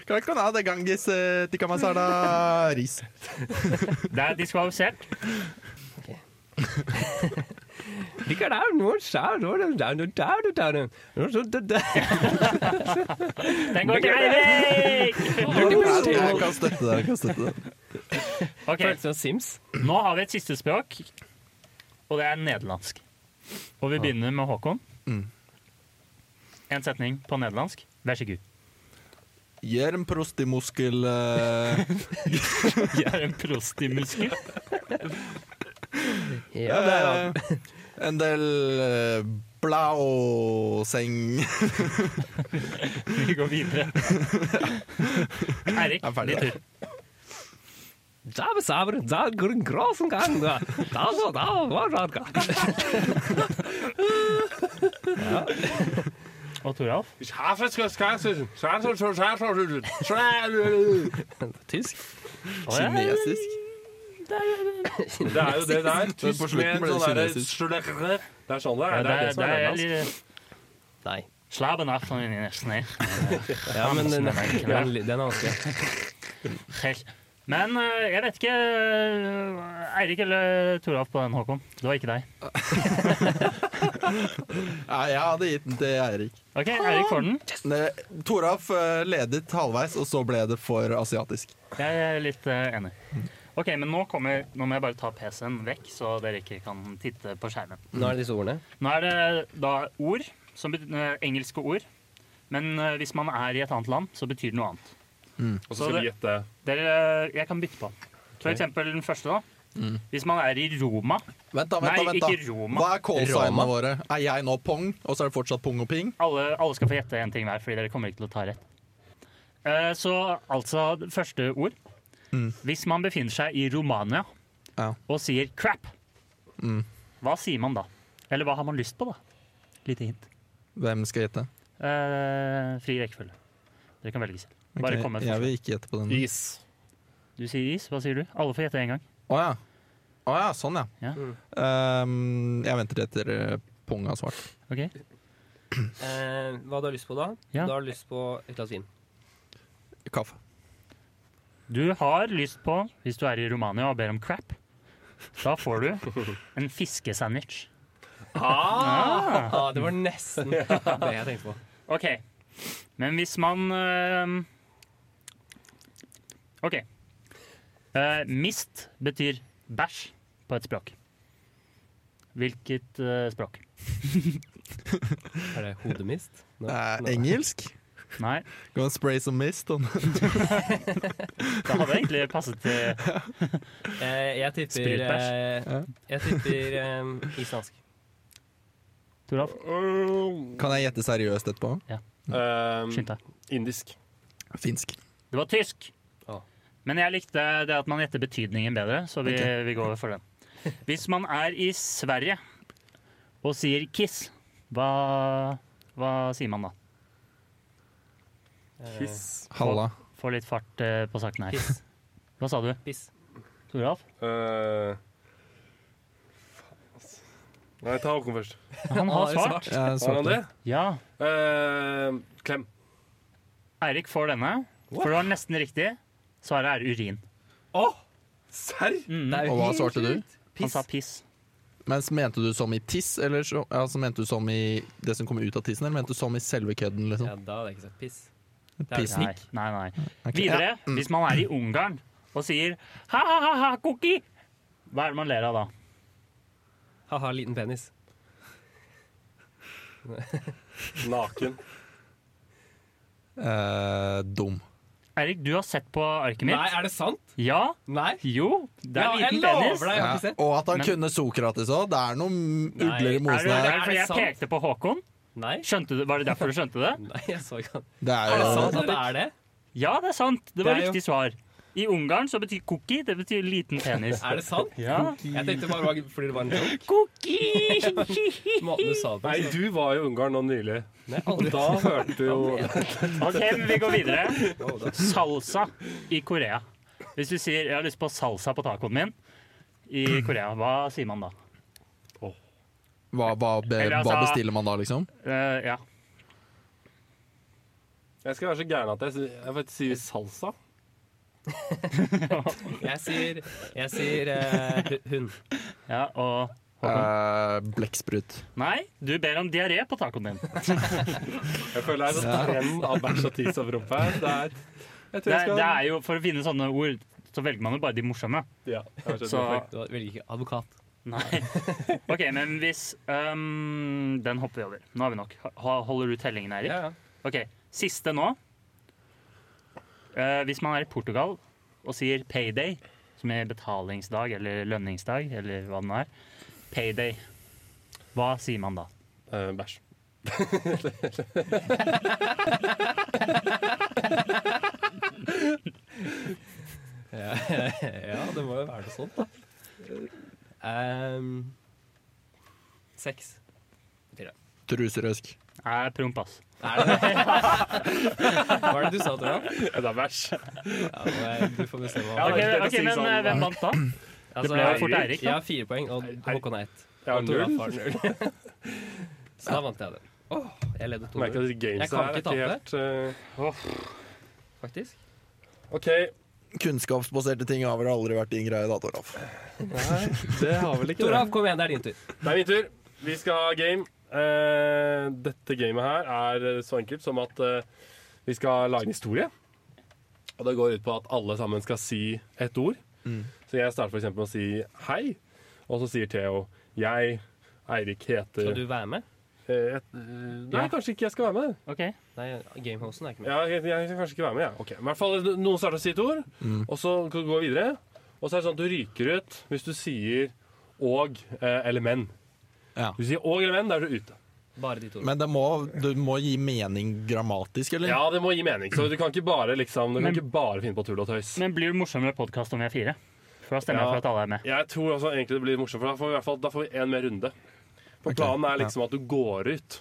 Kakana de Ganges eh, tikka masala ris.
Det er diskvalifisert.
Ligger der noen skjær, og det er noen der, og der, og så det der.
Den går til Eirik!
[laughs] Jeg kan støtte det. Jeg kan støtte det.
Ok,
Føles som Sims.
Nå har vi et siste språk, og det er nederlandsk. Og vi begynner med Håkon. En setning på nederlandsk. Vær så god.
Gjør en prostimuskel eh,
Jeg er en prostimuskel.
Ja, det er han.
eh, En del eh, blauseng.
Vi går videre.
Jeg
Eirik,
er ferdig.
din tur.
Da var sabre, da går en gråsen gang, da. Da var da var det gang.
Og Toralf.
Skjærselskjærselsen, skjærselsen, skjærselsen, skjærselsen.
Tysk.
Kinesisk.
Det er jo det der. Tysk
på
med
slutten ble det
sånn der
kinesisk.
slurre. Det er sånn det
Ja,
er. Det er det som er nederlandsk.
Nei.
Slabenacht og nesten ned.
Ja, men den, den, er- den er vanskelig.
Men eh, jeg vet ikke eh, Eirik eller Toralf på den, Håkon. Det var ikke deg.
Nei, jeg hadde gitt den til Eirik.
OK, Eirik får den.
Ne- Toralf eh, ledet halvveis, og så ble det for asiatisk.
Jeg er litt eh, enig. Ok, men nå, kommer, nå må jeg bare ta PC-en vekk, så dere ikke kan titte på skjermen.
Nå er det disse ordene.
Nå er det da ord, som bet- eh, engelske ord. Men eh, hvis man er i et annet land, så betyr det noe annet.
Og så skal vi gjette.
Dere, eh, jeg kan bytte på. For eksempel den første, da. Hvis man er i Roma
Vent, da,
Nei,
vent, da, vent da.
ikke Roma.
Hva er
Roma.
callsignene våre? Er jeg nå pong, og så er det fortsatt pong og ping?
alle, alle skal få gjette én ting hver, fordi dere kommer ikke til å ta rett. Eh, så altså det første ord. Hvis man befinner seg i Romania
Mm. Ja. Mm.
og sier 'crap', hva sier man da? Eller hva har man lyst på, da? Lite hint.
Hvem skal gjette?
Eh, fri rekkefølge. Dere kan velge selv. Bare
Ok,
kom med et
jeg
forslag.
vil ikke gjette på den. Å
Is.
Du sier is, hva sier du? Alle får gjette én gang.
ja. Å ja, sånn ja.
Ja.
Ehm, jeg venter etter eh, pong har svart.
Ok?
Eh, hva du har lyst på da?
Ja.
Du har lyst på et glass vin.
Kaffe.
Du har lyst på, hvis du er i Romania og ber om crap, da får du en fiskesandwich.
Ah, det var nesten det jeg tenkte på.
Ok. Men hvis man øhm, Ok. Eh, mist betyr bæsj på et språk. Hvilket eh, språk?
Er det hodemist? Nå-
Eh,
nå-
engelsk?
Nei,
Gonna spray some mist on
det hadde egentlig passet til
[laughs] Eh, jeg tipper
Spritbæsj.
eh, Jeg tipper eh, islandsk.
Toralf.
Mm.
Kan jeg gjette seriøst etterpå?
Mm.
Um,
Skynd deg.
indisk.
Finsk.
Det var tysk.
Ja.
Men jeg likte det at man gjetter betydningen bedre, så vi, vi går for den. Hvis man er i Sverige og sier 'kiss', hva, hva sier man da?
Eh,
Kiss.
Halla.
Få litt fart eh, på saken her.
Kiss.
Hva sa du,
Piss.
Toralf?
Eh, faen, ass. Nei, ta Håkon først.
Han har svart.
Jeg
Har han det?
svarte.
Ja.
Eh, klem.
Eirik får denne, for det var nesten riktig. Svaret er urin.
Serr?
Det er jo
Og hva
helt
svarte du?
sjukt.
Han
Piss.
sa piss.
Mens mente du som i tiss, eller så, altså, mente du som i det som kommer ut av tissen, eller mente du som i selve kødden?
Ja,
Liksom?
da hadde jeg ikke sagt piss.
Pissen.
Nei, nei, nei.
Ok.
Videre,
Ja. Mm.
hvis man er i Ungarn og sier ha-ha-ha, cookie, hva er det man ler av da?
Ha-ha, liten penis.
Naken.
Eh, dum.
Eirik, du har sett på arket mitt.
Nei, er det sant?
Ja.
Nei.
Jo, det er
Ja, jeg
liten
lover
penis.
deg, jeg har
Ja.
ikke sett.
Og at han
Men-
kunne Sokrates òg. Det er noen
Nei,
ugler i
Er det,
mosen
er
her.
det fordi jeg
sant?
pekte på Håkon?
Nei.
Skjønte du, var det derfor du skjønte
[laughs]
det?
Nei, jeg så ikke han.
Det
Er
er
det sant
jo
sånn.
at det er det?
Ja, det er sant. Det var
Det er jo-
riktig svar. I Ungarn så betyr cookie det betyr liten
[laughs]
penis.
Er det sant?
Ja.
Jeg tenkte bare det var- fordi det var en joke.
Cookie!
Måten du sa det på.
Nei, du var jo i Ungarn nå nylig.
Nei, aldri.
Da hørte du jo
OK, men vi går [laughs] videre. Salsa i Korea. Hvis du sier 'jeg har lyst på salsa på tacoen min' i Korea, hva sier man da?
hva, hva, be,
Eller
hva
altså-
bestiller man da, liksom?
Eh, ja.
Jeg skal være så gæren at jeg, sier- jeg vet, sier salsa.
Jeg sier, jeg sier eh, hu- hun.
ja. Og Håkon?
Uh, Blekksprut.
Nei, du ber om diaré på tacoen din.
Jeg føler det er sånn renn av bæsj og tiss over rumpa her. Det er, jeg tror
Det,
jeg skal
det er jo, For å finne sånne ord, så velger man jo bare de morsomme.
ja, jeg har skjønt
Så
hvorfor.
Du velger ikke advokat.
Nei. OK, men hvis øhm, Den hopper vi over. Nå har vi nok. Ha- Holder du tellingen, Eirik?
ja, ja.
OK, siste nå. Eh, hvis man er i Portugal og sier payday, som er betalingsdag eller lønningsdag, eller hva det nå er, payday, hva sier man da?
Eh, bæsj.
Ja, [laughs] ja, det må jo være noe sånt, da. Ehm, sex.
Truserøsk.
Er promp, ass.
[laughs] Er det det? Hva er det du sa, Tora?
Ja, det er bæsj.
Ja, nå er- du får bestemme.
Ja,
Ok,
det er ikke det å
ok,
si
men
sånn,
eh,
da.
hvem vant da?
Altså,
ble jo fort
jeg-
Eirik, da.
Jeg har fire poeng, og Håkon har ett.
Jeg har
Og Tora
null.
har [laughs] null. Så da vant jeg den. Åh, jeg ledde
Jeg merker at de
2-0, Jeg
games
kan
her er
ikke
ikke
tape.
helt eh,
faktisk.
OK,
Kunnskapsbaserte ting har vel aldri vært din greie, da, Toralf.
det har vel ikke det.
Toralf, kom igjen, det er din tur.
Det er min tur. Vi skal ha game. Eh, dette gamet her er så enkelt som at eh, vi skal lage en historie. Og det går ut på at alle sammen skal si et ord. Så jeg starter for eksempel med å si hei, og så sier Theo jeg, Eirik heter
Skal du være med?
Eh, et, Nei,
Ja.
kanskje ikke jeg skal være med.
Ok,
Nei, Gamehosen er ikke med.
Ja, jeg, jeg skal kanskje ikke være med, jeg. Ok, I hvert fall eh, noen starter å si et ord, og så går vi videre. Og så er det sånn at du ryker ut hvis du sier og eh, eller men.
Ja.
Hvis du sier og eller men, da er du ute.
Bare de to.
Men det må, du må gi mening grammatisk, eller?
Ja, det må gi mening. Så du kan ikke bare, liksom, du kan ikke bare finne på tull og tøys.
men blir det morsommere podcast om vi er fire? For da stemmer jeg
Ja.
for at alle er med.
Jeg tror også egentlig det blir morsomt, for da får vi, i hvert fall, da får vi en mer runde. For
Ok,
planen er
ja.
liksom at du går ut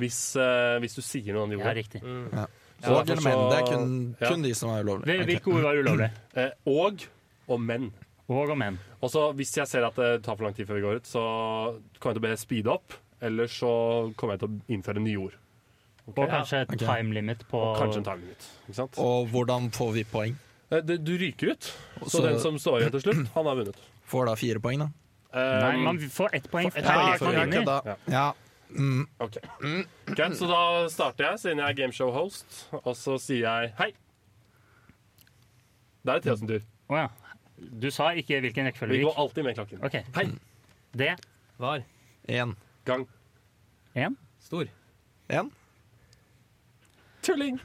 hvis, eh, hvis du sier noe om de
Ja,
ordene.
riktig.
Så
Og
derfor
eller men,
så-
det er kun,
Ja.
kun de som er ulovlige.
Hvil-
Ok.
Hvilke ord var ulovlig?
[clears throat] Eh, og og men.
Og om en.
Og så hvis jeg ser at det tar for lang tid før vi går ut, så kommer jeg til å be speede opp. Eller så kommer jeg til å innføre nye ord.
Og kanskje et
Ok.
time limit på
Kanskje en timing ut. Ikke sant?
Og hvordan får vi poeng?
Eh, det- Du ryker ut, så,
Så-
den som står igjen til slutt, han har vunnet.
Får da fire poeng, da.
Eh,
Nei, man får ett poeng
Får ett
per
poeng
lek
for
man
hver
vinner.
da. Ja. Mm.
Ok. Greit, så da starter jeg, siden jeg er gameshow-host, og så sier jeg hei. Det er Theo sin tur.
Å ja. Du sa ikke hvilken rekkefølge
Vi
vi
går
gikk.
alltid med klokken.
Ok,
Hei.
Det
Var.
En.
Gang.
en.
Stor.
En?
Tulling!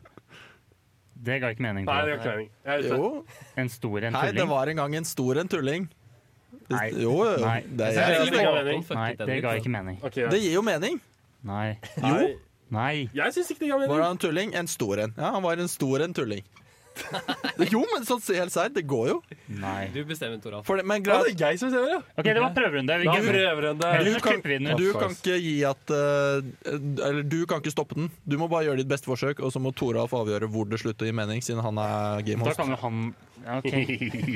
Det ga ikke mening.
Nei,
Til
det gjør ikke mening. Jeg er ute.
Jo.
En stor en
Nei, det
tulling.
var en gang en stor en tulling. Hvis-
Nei.
Jo, jo.
Nei.
Det,
Jeg
er,
synes det ga mening.
fucket
Nei,
den
det
ut,
ga
da.
ikke mening.
Ok,
det
ja.
gir jo mening.
Nei.
Nei,
Nei.
jeg syns ikke det ga
Var
mening.
han en tulling? En stor en. Ja, han var en stor en
[laughs]
tulling. Jo, men sånn se helt seriøst, det går jo.
Nei.
Du bestemmer, Toralf.
For det, men
Ja,
greit,
det er jeg som bestemmer, ja.
OK, det var prøverunde. Vi
Da
glemmer.
prøver en
Eller
det.
så klipper vi den ut.
Of
du kan
course.
ikke gi at eh, Eller du kan ikke stoppe den. Du må bare gjøre ditt beste forsøk, og så må Toralf avgjøre hvor det slutter å gi mening, siden han er
Da
gamehost.
kan jo han ja, OK.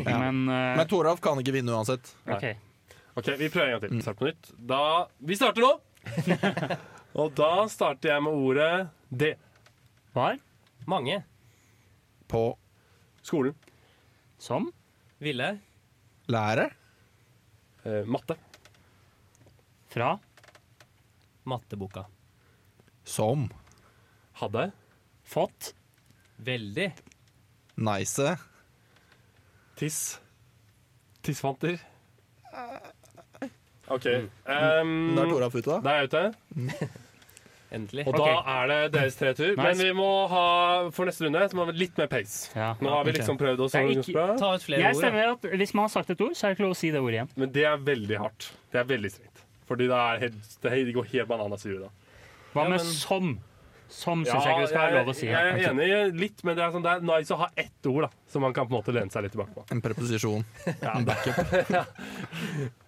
Men eh,
Men Toralf kan ikke vinne uansett.
OK.
Ok, vi prøver en gang til. Start på nytt. Da Vi
[laughs]
starter nå! Og da starter jeg med ordet det.
Var
Mange.
På
Skolen.
som
Ville.
lære?
Eh, matte.
fra
Matteboka.
Som
Hadde
fått
Veldig.
nice.
tiss. Tissfanter. OK. ehm,
Der Mm. er Tora Futa.
da er jeg ute.
Endelig.
Og
Ok.
da er det deres tre tur. Men
Nice.
vi må ha for neste runde så må vi ha litt mer pace.
Ja.
Nå har vi
Ok.
liksom prøvd oss.
Det er
organisere
ikke-
bra,
Ta ut flere
Jeg
ord. da.
stemmer at hvis man har sagt et ord, så er det ikke lov å si det ordet igjen.
Men det er veldig hardt. Det er veldig strengt. Fordi det, er helt, det går helt bananas i huet da.
Hva med
Ja, men-
som? Som syns jeg ikke det skal være lov å si.
jeg er
her.
enig i litt, men det er, sånn, det er nice å ha ett ord da, som man kan på en måte lene seg litt tilbake på.
En preposisjon. En backup.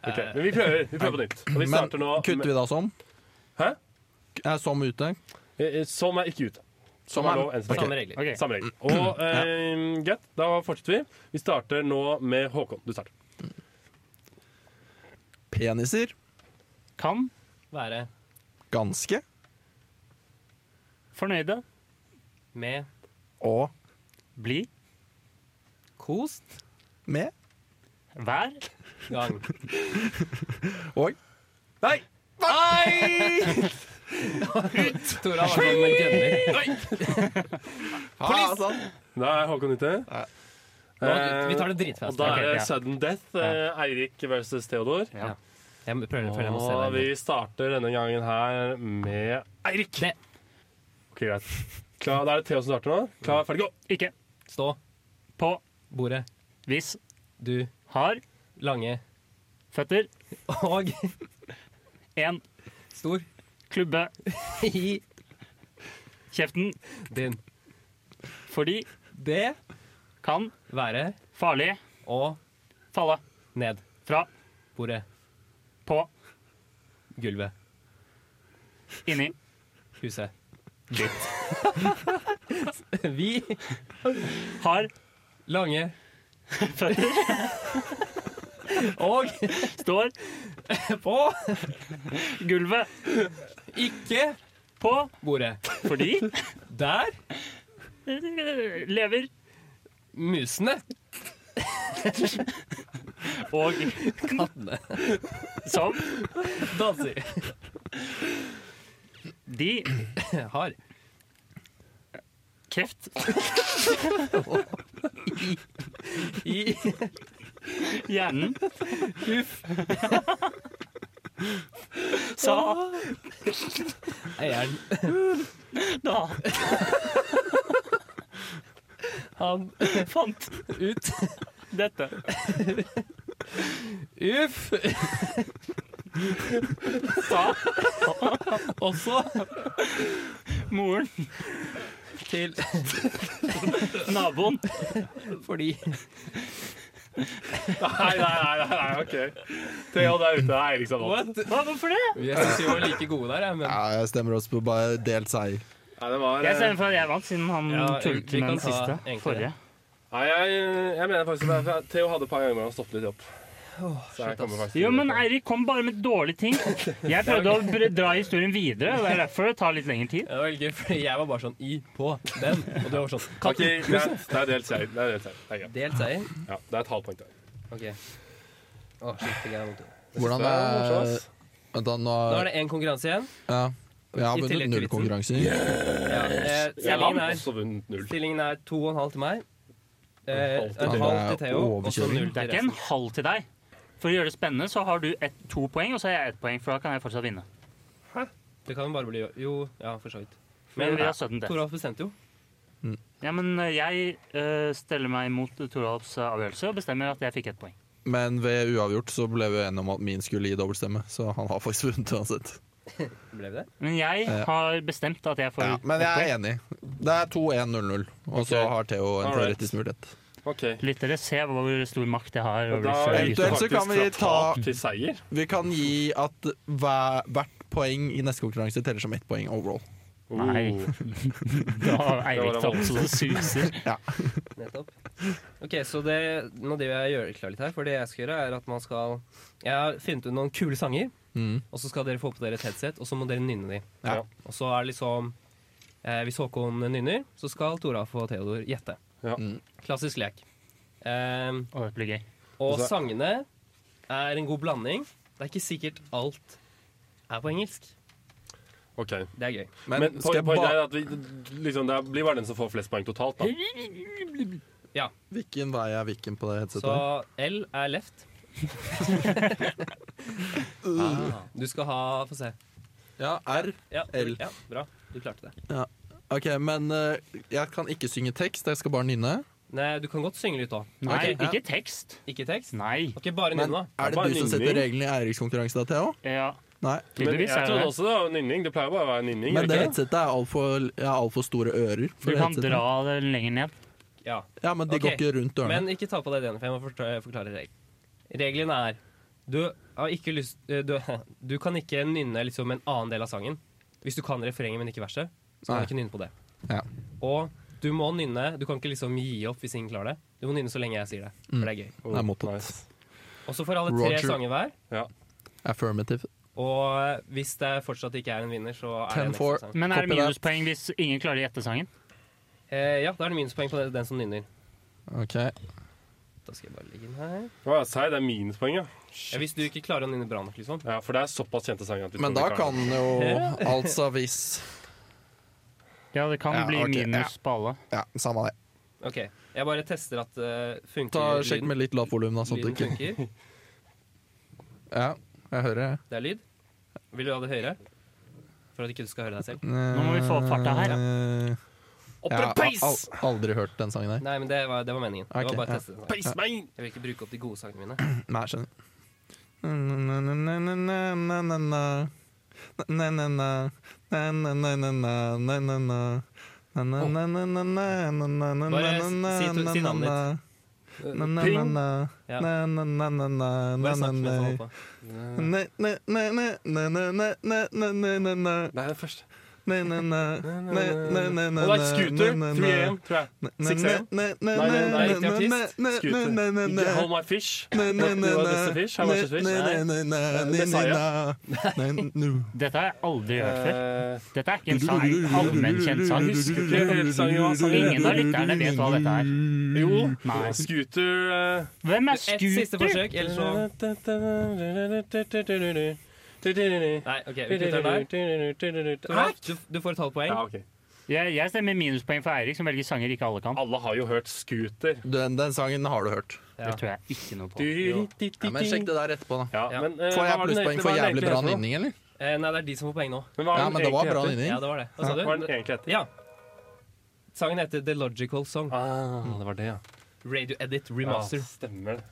Ok, Men vi prøver vi prøver på nytt. Og vi
Men
starter nå
kutter vi da som?
Hæ?
Er som ute?
med Eh, Som er ikke ute. Som er lov enn så
Samme
lenge.
regler.
Ok.
Samme regel. Og eh, greit, da fortsetter vi. Vi starter nå med Håkon. Du starter.
Peniser?
Kan
Være
Ganske?
fornøyde
med
Og
bli
kost
med?
hver
[laughs]
gang.
Og
Nei! [laughs]
Tora var sånn med gønner.
Ha, sånn.
Da er Håkon ute.
Nå- Vi tar det
Og
dritfast.
da
Ok,
er det
ja.
sudden death. eh, Eirik versus Theodor.
Ja.
Jeg prøver, føler jeg må se
Og
deg.
vi starter denne gangen her med Eirik.
Det.
Ok, greit. Klar, da er det Theo som starter nå. Klar, ferdig, gå! [laughs]
Ikke
Stå.
på
Bordet.
hvis
Du.
har
Lange.
føtter
Og
en
stor. [laughs]
klubbe
I
kjeften
din.
fordi
Det.
kan
Være.
farlig
Og
falle
ned.
fra
Bordet.
på
Gulvet.
inni
Huset. Ditt. [laughs] vi.
har [laughs]
Lange.
føtter
[laughs] Og
står
på.
gulvet
Ikke
på
bordet.
fordi
Der.
lever
Musene.
og
Kattene.
som
Danser. [laughs]
de
Har.
kreft
I.
hjernen
Uff.
sa
Eieren.
da
Han.
fant
Ut.
dette.
Uff.
Sa
Også
moren,
til
naboen,
Fordi
Nei, nei, nei, nei, nei ok. Theo, der ute. Det er Eirik som vant.
What?
Hva, hvorfor det?
Jeg syns vi var like gode der, jeg, men
Ja, jeg stemmer oss på bare delt seier.
Nei, det var,
Jeg
eh,
stemmer for at jeg vant, siden han
Ja,
tullet
vi
med
kan
den
ta
siste.
egentlig
Forrige.
det.
nei jeg, jeg mener faktisk at jeg- Theo hadde et par ganger hvor han stoppet litt opp. Så jeg
shit,
kommer
ass.
faktisk
Jo, men
til-
Eirik kom bare med dårlige ting. Jeg prøvde å br- dra historien videre, og det er derfor det tar litt lengre tid.
det var veldig gøy, fordi jeg var bare sånn i på den, og du var sånn
Ok,
katten.
greit. Det er delt seier. Det er delt seier. Det er greit.
Delt seier.
Ja, det er et halvt poeng der.
Ok. Å, shit, fikk jeg vondt.
Hvordan
Det er morsomt,
er
ass.
Vent, da. Nå
Nå er det én konkurranse igjen.
ja. Jeg har
I
vunnet
tillegg til
null konkurranser.
Ja, eh,
Jeg
stillingen,
har
er,
også vunnet null.
stillingen er to og en halv til meg.
En
Eh,
halv til
en
deg.
halv til Theo, og så
Overkjøring.
null
Det er
til
ikke en
resten.
halv til deg. For å gjøre det spennende så har du ett- to poeng, og så har jeg ett poeng, for da kan jeg fortsatt vinne.
Det kan jo bare bli Jo, ja, for så vidt.
Men
Men
vi har sudden death.
Toralf bestemte jo.
Ja, men eh, jeg eh, steller meg mot Toralfs eh, avgjørelse og bestemmer at jeg fikk ett poeng.
Men ved uavgjort så ble vi enige om at min skulle gi dobbeltstemme, så han har faktisk [laughs] vunnet uansett.
Ble vi det?
Men jeg
Ja.
har bestemt at jeg får
Ja, men
ett
jeg
poeng.
er enig. Det er 2-1-0-0, og så
Ok.
har Theo en
Alright.
teoretisk mulighet.
Ok.
Lyttere, se hvor stor makt jeg har.
Og
over
da
disse
gikk
guttene.
det
Eventuelt så kan vi
faktisk fra
ta-
tap til seier.
Vi kan gi at hver, hvert poeng i neste konkurranse teller som ett poeng overall.
Nei.
Oh.
Da har Eirik
Det var det
tatt så det suser.
Nettopp. Ok, så det, Nå driver jeg og gjør klar litt her, for det jeg skal gjøre, er at man skal Jeg har funnet ut noen kule sanger,
Mm.
og så skal dere få på dere et headset, og så må dere nynne de.
Ja.
Ja.
Og så er det liksom eh, Hvis Håkon nynner, så skal Toralf og Theodor gjette.
Ja.
Mm.
Klassisk lek. Eh,
Å, det blir gøy.
og
Og så-
sangene er en god blanding. Det er ikke sikkert alt er på engelsk.
Ok.
Det er gøy.
Men,
Men
skal
poen-
jeg
poenget er
ba
at vi, liksom, det er- blir bare den som får flest poeng totalt, da.
Ja,
Hvilken vei er hvilken på det headsetet?
så L er left.
[laughs]
Ah. Du skal ha Få se.
Ja, R.
Ja,
L.
Ja, bra. Du klarte det.
Ok, men eh, jeg kan ikke synge tekst, jeg skal bare nynne.
Nei, du kan godt synge litt òg.
Nei,
Ok, ja.
ikke tekst.
Ikke tekst?
Nei.
Ok, bare
Men
nynne, da.
er det
Bare
du som
nynning.
setter reglene i Eiriks konkurranse, da, Theo?
Ja,
Nei.
Men jeg
tydeligvis er det
trodde
det.
også det var nynning. Det pleier bare å være nynning.
Men det
er det ikke det?
headsetet er altfor ja, alt for store ører. for det
Du kan
headsetet.
dra det lenger ned.
Ja.
Ja, men de
Ok,
går ikke rundt dørene.
Men ikke ta på deg den, for jeg må forklare, forklare regelen. Regelen er du har ikke lyst eh, du, [laughs] du kan ikke nynne liksom en annen del av sangen. Hvis du kan refrenget, men ikke verset, så kan
Nei.
du ikke nynne på det.
Ja.
Og du må nynne. Du kan ikke liksom gi opp hvis ingen klarer det. Du må nynne så lenge jeg sier det. For det er gøy.
Det er mottatt.
Oh, Nice.
Og så får alle
Mm.
tre
Roger.
sanger hver.
Ja.
Affirmative.
Og eh, hvis det fortsatt ikke er en vinner, så er det
10
en
for-
ekstra sang.
Men er det
Copy that.
minuspoeng hvis ingen klarer å gjette sangen?
Eh, ja, da er det minuspoeng på den- den som nynner.
Ok.
Da skal jeg bare ligge inn her.
Å, ja, sei, det er minuspoeng, ja.
Ja, hvis du ikke klarer å nynne bra nok, liksom.
ja. For det er såpass kjente sanger. at vi
Men da
tror vi
kan
det.
jo altså hvis
Ja, det kan
Ja,
bli
ok, ja.
minus på alle.
Ja, samme det.
Ok, Jeg bare tester at uh, funker
Ta Sjekk med litt lavt volum, da. Sånn at
lyden
du ikke
funker.
Ja, jeg hører det.
Det er lyd. Vil du ha det høyere? For at ikke du skal høre deg selv.
Nå
må vi få opp farta her, da.
Opp
Jeg har
med
Eh, al
peis!
aldri hørt den sangen der.
Nei, men det var, det var meningen.
Ok,
det var
ja.
bare å teste den.
Peis meg!
Jeg vil ikke bruke opp de gode sangene mine.
Nei, jeg skjønner. Na-na-na-na-na-na-na. Na-na-na-na. Na-na-na-na-na-na-na. Na-na-na-na-na-na-na-na-na.
Bare si- si- si navnet ditt.
Ping!
Na-na-na-na.
Ja.
Na-na-na-na-na.
Bare snakk mens
eh,
jeg holder på.
Na-na-na-na-na-na-na-na-na.
Det er den første.
Na-na-na. Na-na-na-na-na-na.
Og det er Scooter. 3AM, tror jeg. Six AM. Ikke Hold my fish. Det var Mr. Fish. Her var Mr. Fish.
Dette har jeg aldri hørt før.
Eh,
Dette er ikke en sang, allmennkjent sang. Ingen av lytterne vet hva dette er.
Jo.
Nei.
Scooter eh,
Hvem er
Et siste
Scooter?
forsøk, ellers så Nei, OK. Vi kutter den der. Torvald, Du, du får et halvt poeng.
Ja, ok.
Jeg, jeg stemmer minuspoeng for Eirik, som velger sanger ikke alle kan.
Alle har jo hørt Scooter.
Den, den sangen har du hørt.
Det tror jeg ikke noe på.
Jo.
Ja, men Sjekk det der etterpå, da.
Ja,
Ja.
men, eh,
Får
hva
jeg
var den
plusspoeng
egentlig-
for
hva er den
jævlig
egentlig
bra
heter nå?
nynning, eller?
Eh, nei, det er de som får poeng nå.
Men hva er
Ja,
den
men det var
egentlig
bra
heter?
nynning.
Ja, det var det. Hva sa
Hva er den
du?
egentlig heter?
Ja. Sangen heter The Logical Song.
Ah, det var det, ja.
Radio Edit
ja
Remaster.
stemmer det.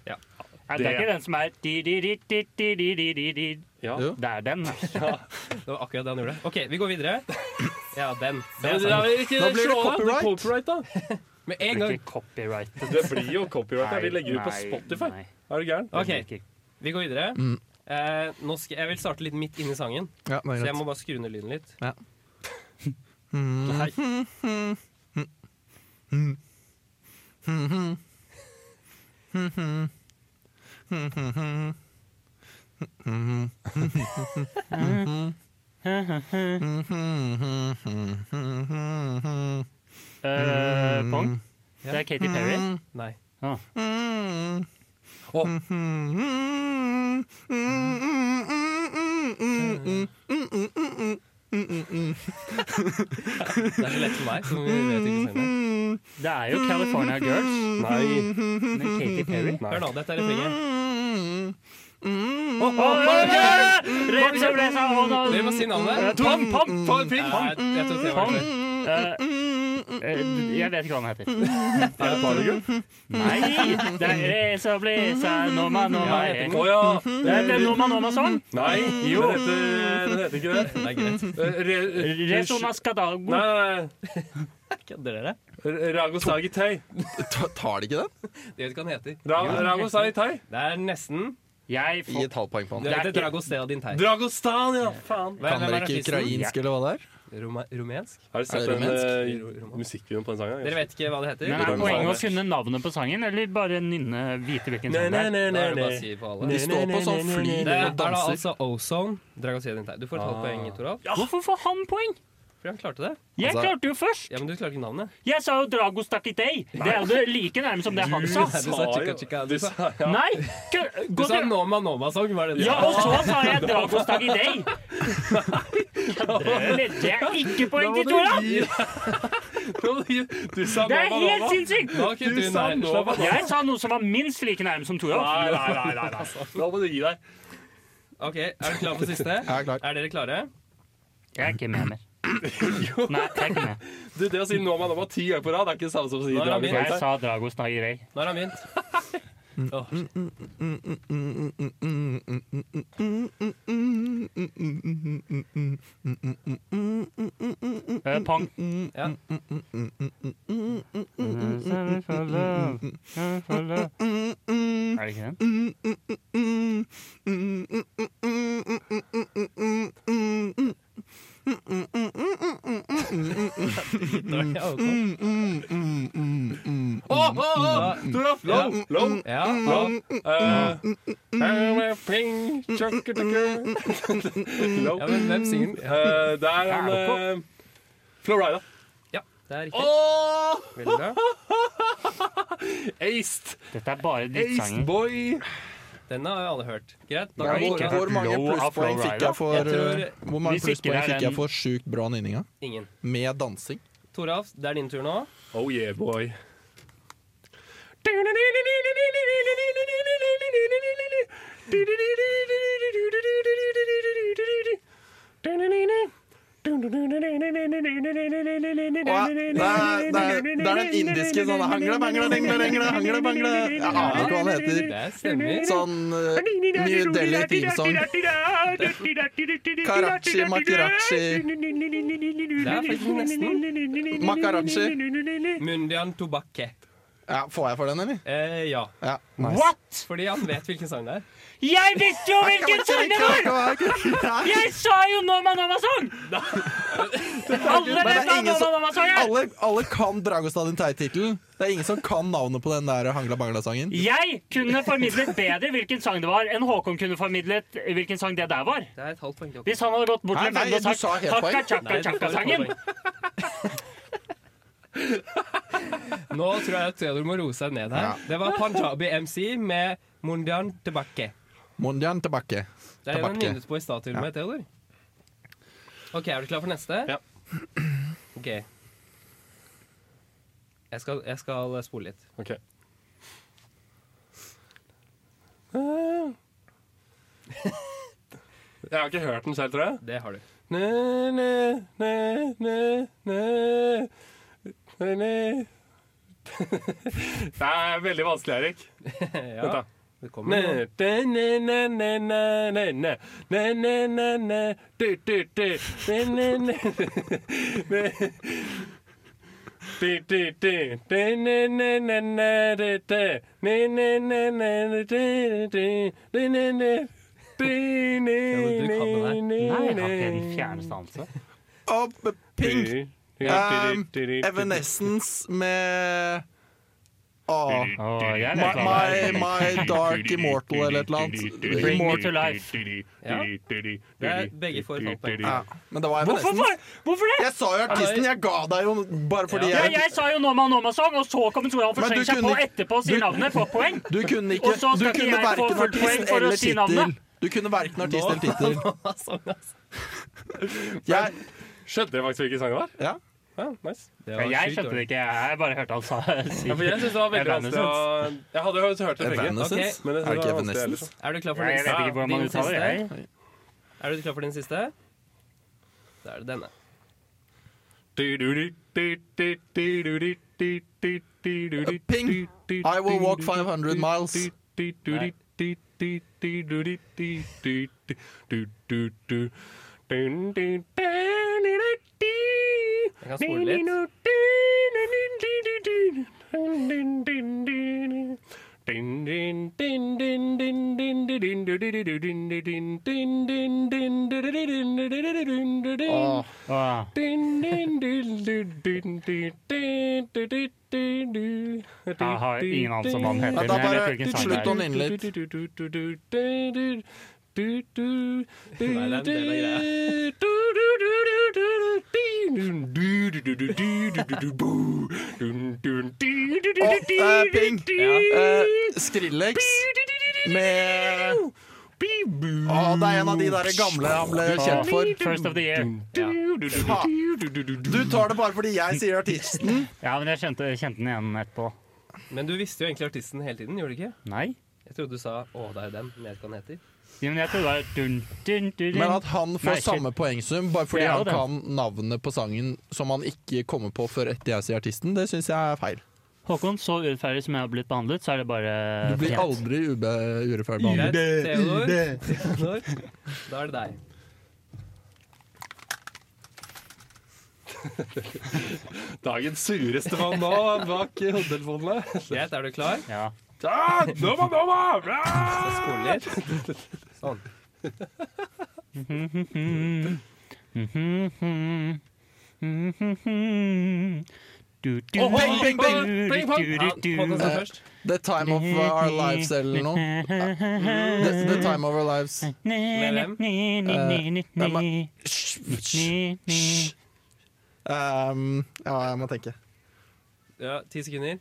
Nei, det er ikke den som er di-di-di-di-di-di-di-di.
Ja.
Jo.
Det er den. altså.
Det var akkurat det han gjorde. OK, vi går videre. Ja, den. Det
Men
er
det
sangen.
er ikke
Da blir det
slå av,
copyright.
copyright, da.
Med en gang.
Ikke copyright.
[laughs] Det blir jo copyright. da. Vi legger det ut på
Nei,
Spotify.
nei.
Er du gæren?
OK,
Ikke-
vi går videre.
Mm.
Eh, nå skal, jeg vil starte litt midt inni sangen,
Ja, det
så
er
jeg må
greit.
bare skru ned lyden litt.
Ja.
[laughs] Nei.
Eh, Pong?
Ja. Mm.
Det er Katy Perry.
Nei.
Ah.
Det er så lett for meg. Så vi vet ikke sangen.
Det er jo California Girls.
Nei.
Men Katy Perry
Hør nå, dette er refrenget.
Åh, åh, åh, Rev som ble sa åh, nå-
Dere må si navnet.
Pom, pom, pom,
Eh,
pom.
jeg tror det var
Pom.
det.
Eh, eh, Jeg vet ikke hva den heter.
[laughs] Er det Barnegull?
Nei!
[laughs]
Det er Rev som ble sa Noma,
Ja,
Noma
jeg heter
eh.
Å ja.
Det er den Noma, Noma sånn.
Nei,
Jo.
den heter, den heter ikke det.
Det er greit.
[laughs] Eh, Re,
Rev som
Nei,
Skadago.
nei,
Kødder dere?
nei. Ragosagi tei.
Ta- Tar de ikke den?
Det vet ikke hva den heter.
Ra, Ragosagi tei.
Det er nesten.
Jeg
Gi
får
et halvt poeng på
Det
den.
er
heter
ikke-
Dragostea din teir.
Dragostan, ja. Faen.
Hvem-
Kan
hvem er
dere ikke
artisten?
ukrainsk, eller hva det er?
Roma- Rumensk?
Har du sett
Er det
den
rumensk?
eh, musikkvideoen på den sangen?
Dere vet ikke hva det
men
heter?
er
Nei,
poenget å kunne navnet på sangen, eller bare nynne vite hvilken sang det
nei,
er?
Da er det bare å si på alle.
De står på sånn fly
Det er
og
da
danser.
altså Ozone. Dragostea din teir. Du får et halvt
Ah.
poeng, Toralf.
Hvorfor får han poeng?
For han klarte det.
Jeg
Altså-
klarte jo først!
Ja, Men du klarer ikke navnet.
Jeg sa jo Drago Stakitei. Det er jo det like nærme som det han sa.
Du sa chicka, chicka,
Du
du
sa
Nei! Gå
Du sa
til
Noma Noma-sang, var det det?
Ja, og så sa jeg Drago Stakitei. Det lette jeg ikke
Da
poeng
må
til,
du
Tora!
[laughs]
gi- Da må du gi- Du sa
Det er
nå
helt
banana.
sinnssykt!
Da kutter
Du
vi
sa nå
den. Nei, slapp av.
Jeg sa noe som var minst like nærme som Tora.
Nei, nei, nei, nei, nei. Da må du gi deg.
OK, er du klar for siste?
Jeg er klar.
Er dere klare?
Jeg er ikke med mer. Nei, jeg er ikke med.
Du, det å si nå med nå ti ganger på rad er ikke det samme som å si
Nå er han
draget.
min.
Jeg sa Dragos Nagirei.
Nå har han begynt. Åh, shit.
Eh, Pang.
Ja.
Er det ikke den?
Dårlig, ja, ok.
Åh, åh, åh! Toralf, low, low,
Ja,
low. Eh, eh, pling, tjokketukke. Low.
ja, men hvem synger den?
Eh, Det er han eh, Florida.
Ja, det er riktig.
Åh!
Veldig bra.
Aced!
Dette er bare
Aced
drittsanger.
boy!
Den har jo alle hørt. Greit. Da
Ja,
kan vi
hvor,
ikke
hvor mange
Low of
plusspoeng
Flowrider.
fikk jeg for,
Jeg tror-
uh, hvor mange
Hvis ikke
plusspoeng
det er
fikk jeg
den-
for sjukt bra nynninga?
Ingen.
Med dansing?
Toralf, det er din tur nå.
Oh yeah, boy.
Åh, det, er, det, er, det er den indiske sånn hangle, bangle, dingle, dingle, hangle, bangle. Jeg aner ikke hva den heter.
Det stemmer.
Sånn uh, New Delhi teamsong. Karachi, makarachi.
Det er faktisk nesten.
Makarachi.
Mundian Tobakke.
Ja, får jeg for den, eller?
Eh, ja.
Ja, nice.
What?!
Fordi han vet hvilken sang det er.
Jeg visste jo hvilken sang det var!
var!
Jeg sa jo Norma Norma Song! Alle
Men det
vet
er
hva
ingen
Norma
som
Norma Song er!
alle, alle kan Dragostad din tittelen. Det er ingen som kan navnet på den der Hangla Bangla-sangen.
Jeg kunne formidlet bedre hvilken sang det var, enn Håkon kunne formidlet hvilken sang det der var.
Det er et halvt poeng til
Hvis han hadde gått bort
Nei,
til en
nei,
venn og
du
sagt
sa helt
takka
poeng.
tjakka tjakka sangen
Nå tror jeg at Theodor må roe seg ned her.
Ja.
Det var Punjabi MC med Mundian Tobakke.
Mondian tilbake.
Det er den
Tobakke.
nynnet på i stad til og med, Theodor. OK, er du klar for neste?
Ja.
OK. Jeg skal, jeg skal spole litt.
Ok. Jeg har ikke hørt den selv, tror jeg.
Det har du.
Næ, næ, næ, næ, næ. Næ, næ. [laughs] Det er veldig vanskelig, Erik. Vent, da.
Ja, det kommer noe. [laughs]
[laughs] Nei,
Nei, jeg har ikke den fjerneste anelse.
Og Pink um, Evanescence med Åh,
Åh, jeg
my,
vet hva
my,
det er.
my Dark Immortal eller et eller annet.
Bring me
Immort-
to life.
Ja. Det er begge får et halvt poeng.
Ja, men det var
Hvorfor,
Evanescence.
hvorfor det?
Jeg sa jo artisten, jeg ga deg jo bare fordi
Ja,
jeg
jeg sa jo Norma Norma Song, og så kom Toralf og
Men du
slengte seg på
kunne ikke-
etterpå og sier
du-
navnet på poeng.
Du kunne ikke
Og så
Du
skal ikke
kunne
jeg få
verken
fullt poeng
artist
for å
eller
si navnet.
tittel. Du kunne verken artist eller tittel.
[laughs]
Sånn,
Jeg
Skjønte dere faktisk hvilken sang det var?
Ja.
Ja, nice.
Det
Ja,
var
jeg skjønte
sjukt
det
dårlig.
ikke, jeg bare hørte han sa si.
Ja, for jeg synes det var veldig vanskelig å Jeg hadde jo hørt det begge.
Evanescence?
Men jeg synes
Er det ikke
det liksom- var vanskelig
Evanescence?
Er du klar for
Jeg vet
neste?
ikke hvordan man
Din
uttaler det.
siste? Er du klar for din siste? Da er det denne.
ellers.
Ping. I will walk 500 miles.
Jeg kan spole litt.
Åh.
Åh,
Åh,
Jeg
har ingen anelse om hva den
Vent da,
heter, men jeg vet
bare
hvilken sang det
slutt å
er.
nynne litt.
Nei, det er en del av
Åh, eh, Ping. Eh, Skrillex med Å, det er en av de der gamle han ble kjent for.
First of the year.
Ja.
Du tar det bare fordi jeg sier artisten.
Ja, men jeg kjente, kjente den igjen etterpå.
Men du visste jo egentlig artisten hele tiden, gjorde du ikke?
Nei.
Jeg trodde du sa 'Å, det er jo den'. Jeg vet ikke hva den heter.
Ja, men jeg trodde det var dun, dun, dun, dun.
Men at han får
Nei, shit.
samme poengsum bare fordi
Det er jo
han
det.
kan navnet på sangen som han ikke kommer på før etter jeg sier artisten, det syns jeg er feil.
Håkon, så urettferdig som jeg har blitt behandlet, så er det bare
Du blir
fortjent.
aldri ube, urettferdig
Greit,
behandlet.
Theodor. Theodor. Da er det deg.
Dagens sureste mann nå bak hodetelefonene.
Greit, er du klar?
Ja.
Ja, dommer, dommer! Bra!
Jeg spoler litt. Sånn.
Hm, hm,
Åh, bing, bing, bing, bing, bong.
Ja, Håkon står først.
The Time of Our Lives eller noe. The, the Time of Our Lives. Eh, Hysj, hysj, hysj. Um, ja, jeg må tenke.
Ja, ti sekunder.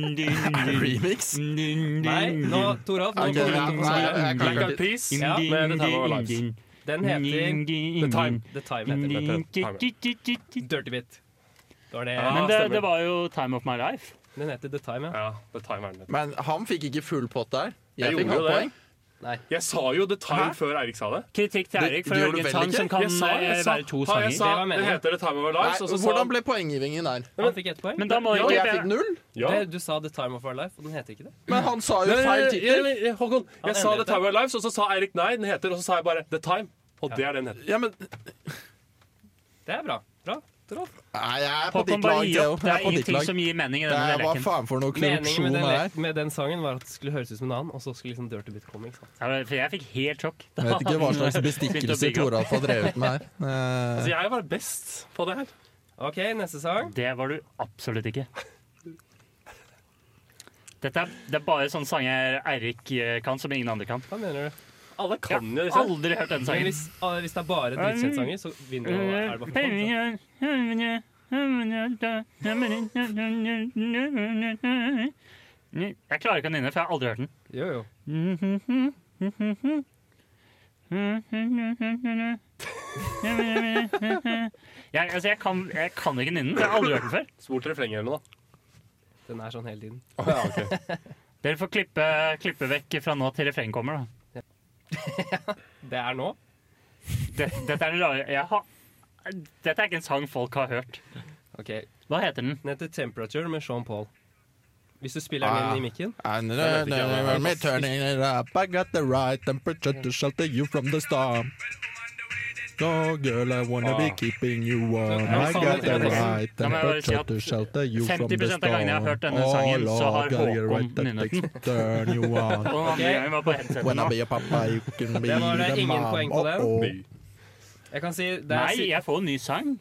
Remix?
Nei, nå, Toralf. Nå
Ok, ja, nei,
får du den
jeg
sangen.
kan
Black
ikke
Eyed Peas
Ja,
med The Time of Our Lives.
Den heter
The Time.
The Time. heter den. Dirty Bit. Det var det.
Ja.
Men det,
stemmer.
det var jo Time of My Life.
Den heter The Time, ja.
Ja, The Time er den. heter.
Men han fikk ikke full pott der. Jeg,
Jeg
fikk
gjorde jo
halvt
det.
poeng.
Jeg sa jo The Time før Eirik sa det.
Kritikk til
Det-
Eirik for
det
å
gjorde
velge
du vel
en sang
ikke?
som kan
Jeg sa,
eh,
jeg sa,
være to
ja, jeg sa
sanger.
Det var
det,
meningen.
heter The Time of Our
Nei,
Lives. Og så sa
hvordan
han
ble poenggivingen der?
Han fikk ett poeng.
Men da må
Ja, jeg fikk
ikke
null,
ja.
Det- Du sa The Time of Our Life, og den heter ikke det.
men han sa jo
Nei,
feil
nei,
tittel.
nei, nei, Håkon,
Han
jeg sa The
endret det.
Time of Our Lives, og så sa Eirik nei, den heter, og så sa jeg bare The Time. Og det er det den heter.
Ja, men
Det er bra. Bra. Toralf.
Nei, jeg er på
Håkon
ditt
bare
lag,
gi
Theo.
opp. Det
Jeg er
er
på ditt
ingenting
lag.
som gir mening i
Det
denne
er hva
leken.
faen for noe
Meningen
korrupsjon
med
det
den,
er.
le- med den sangen var at det skulle høres ut som en annen, og så skulle liksom Dirty Bit komme. ikke sant?
Ja, men- for Jeg fikk helt sjokk.
Jeg vet ikke hva slags bestikkelse Toralf har drevet
[laughs]
med
Så
her. Eh,
jeg var best på det her.
Ok, neste sang.
Det var du absolutt ikke. Dette er, det er bare sånne sanger Eirik eh, kan, som ingen andre kan.
Hva mener du?
Alle kan jo disse.
Aldri hørt den
Men
sangen.
hvis, ah, hvis det er bare dritkjentsanger, så vinner du. og Er det bare for fun, så.
Jeg klarer ikke å nynne, for jeg har aldri hørt den.
Jo, jo.
Jeg, altså, jeg, kan, jeg kan ikke nynne den. for Jeg har aldri hørt den før.
Spol til refrenget eller noe. da.
Den er sånn hele tiden.
Dere får klippe, klippe vekk fra nå til refrenget kommer. Da.
Det er nå.
Det, dette, er det rare, jeg har, dette er ikke en sang folk har hørt.
Ok,
Hva heter den?
Den heter 'Temperature' med Sean Paul. Hvis du spiller den inn i mikken
and then I'm turning it up. I got the right temperature to shelter you from the storm. No, girl, I wanna
Ah.
be keeping you warm.
sånn
I got the right temperature to shelter you from the storm.
50% av gangene jeg har hørt denne sangen, så har Håkon nynnet den.
Turn you on.
Og den andre
Ok.
gangen var på headsetet
When I
nå.
be a papa, you can be
Det var det
the
ingen
mom.
poeng på den.
Oh, oh.
Nei.
Jeg kan si det er
Nei,
si-
jeg får jo ny sang.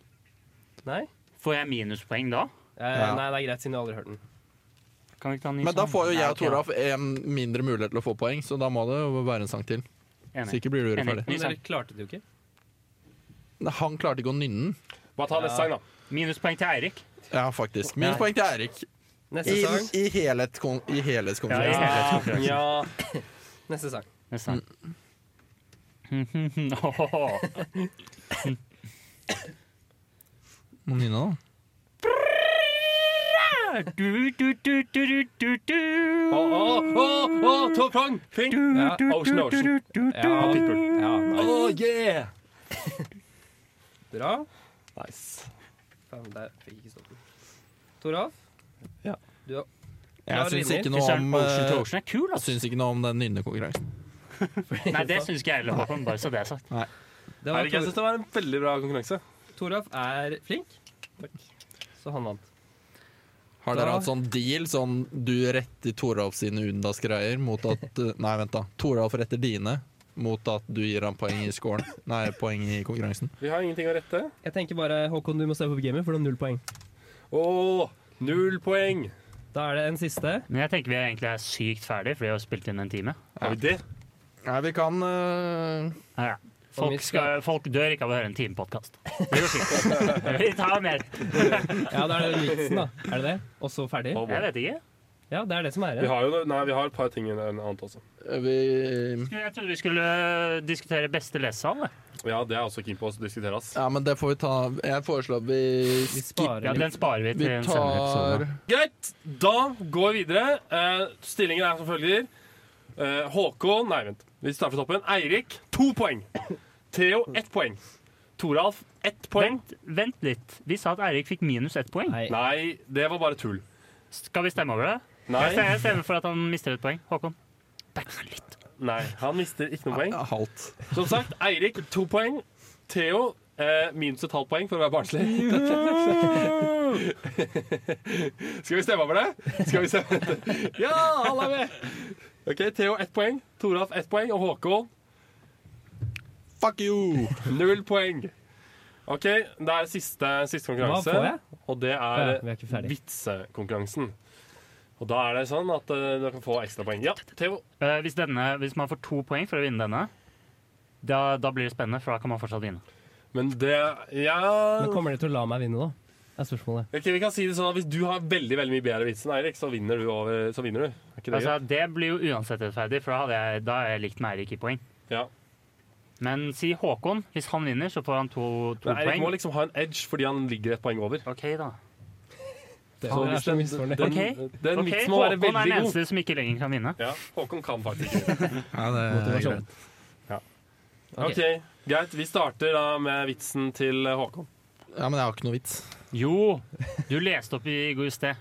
Nei?
Får jeg minuspoeng da?
Eh,
Ja.
nei, det er greit, siden du aldri har hørt den.
Kan vi ikke ta en ny
Men da
sang?
får jo
Nei,
jeg og
ok,
Toralf en mindre mulighet til å få poeng, så da må det jo være en sang til.
enig.
Så ikke blir du urettferdig.
Ny
Men
sang.
dere klarte det jo ikke.
Han klarte ikke å nynne den.
Bare ta neste sang, da.
Minuspoeng til Eirik.
Ja, faktisk. Minus poeng til Eirik.
Neste
I,
sang.
i helhetskon- i
Ja, i
helhetskonferansen.
helhetskonferansen.
Ja. [coughs] Neste sang.
Neste sang. Åhåhå.
Må nynne, da.
Du, du, du, du, du, du, du.
Å, å, å, å, Tom Prang! Fink!
Ja.
Ocean Ocean.
Ja,
Pitbull.
ja, nice.
Oh, yeah!
Bra.
Nice.
Faen, der fikk jeg ikke stoppet. Toralf?
Ja.
Du har
Jeg
Klar
syns
vinner.
ikke
Fy
noe
søren,
om
Ocean to
eh,
Ocean er kul, ass.
Syns ikke noe om den nynnekonkurransen.
Nei, det syns ikke jeg heller, Håkon. Bare så det er sagt.
det var
Eirik, jeg syns
Tor
det var en veldig bra konkurranse.
Toralf er flink. Så han vant.
Har
Da-
dere hatt sånn deal, sånn du retter Toralf sine Undas-greier mot
[laughs]
at eh, Nei, vent, da. Toralf retter dine mot at du gir ham poeng i scoren. Nei, poeng i konkurransen.
Vi har ingenting å rette.
Jeg tenker bare, Håkon, du må se på gamet, for du har null poeng.
Å, null poeng!
Da er det en siste.
Men jeg tenker vi egentlig er sykt ferdig, fordi vi har spilt inn en time.
Er vi det?
Nei, vi kan eh,
Ja.
Og mitt
Folk, skal, folk dør ikke av å høre en timepodkast. Det går fint. Vi tar mer.
Ja, det er det vitsen, da. Er det det? Og så ferdig?
Og
Jeg
hvor.
vet ikke.
Ja, det er det som er
Vi
igjen.
har jo nei, vi har et par ting enn annet også.
Vi,
Jeg trodde vi skulle diskutere beste lesesal. jeg.
Ja, det er jeg også keen på å diskutere. ass.
ja, men det får vi ta Jeg foreslår vi
Vi
skipper.
sparer
Ja,
litt.
den sparer vi
Vi
til en senere
tar
episode.
Greit, da går vi videre. Eh, stillingen er som følger. Eh, Håkon Nei, vent. Vi starter fra toppen. Eirik to poeng. Theo ett poeng. Toralf ett poeng.
Vent, vent litt. Vi sa at Eirik fikk minus ett poeng.
Nei.
Nei, det var bare tull.
Skal vi stemme over det? Jeg
Nei,
stemmer- Jeg stemmer for at han mister et poeng. Håkon. Back han litt.
nei han mister ikke noe poeng.
ja, halvt.
Som sagt, Eirik to poeng. Theo eh, minus et halvt poeng for å være barnslig. Skal vi stemme over det? Skal vi stemme? Ja, alle er med! Ok, Theo ett poeng, Toralf ett poeng og Håkon
Fuck you!
null poeng. Ok, Det er siste, siste
Hva
konkurranse,
får jeg?
og det
Ja,
er
vi er ikke ferdig.
vitsekonkurransen. Og da er det sånn at eh, du kan få ekstrapoeng. Ja, Theo.
Eh, hvis, denne, hvis man får to poeng for å vinne denne, da, da blir det spennende, for da kan man fortsatt vinne.
Men det Ja
Men kommer de til å la meg vinne, da? Er spørsmålet.
Ok, vi kan si det sånn at Hvis du har veldig veldig mye bedre vits enn Eirik, så vinner du. Over, så vinner du. Er ikke det
Altså, det blir jo uansett rettferdig, for da hadde jeg, da har jeg likt med Eirik i poeng.
greit? Ja.
Men si Håkon. Hvis han vinner, så får han to, to
Men Eirik
poeng.
må liksom ha en edge fordi han ligger et poeng over.
OK, da.
Det
Så
jeg
hvis
er så
den, den,
misfornøyd.
den,
Ok.
den
Ok,
vitsen må være
Håkon er den
veldig god.
eneste som ikke lenger kan vinne.
Ja, Håkon kan faktisk ikke.
Ja, det er
Motivasjon.
greit.
Ok.
Ok, Greit, vi starter da med vitsen til Håkon.
Ja, men jeg har ikke noe vits.
Jo, du leste opp i går sted.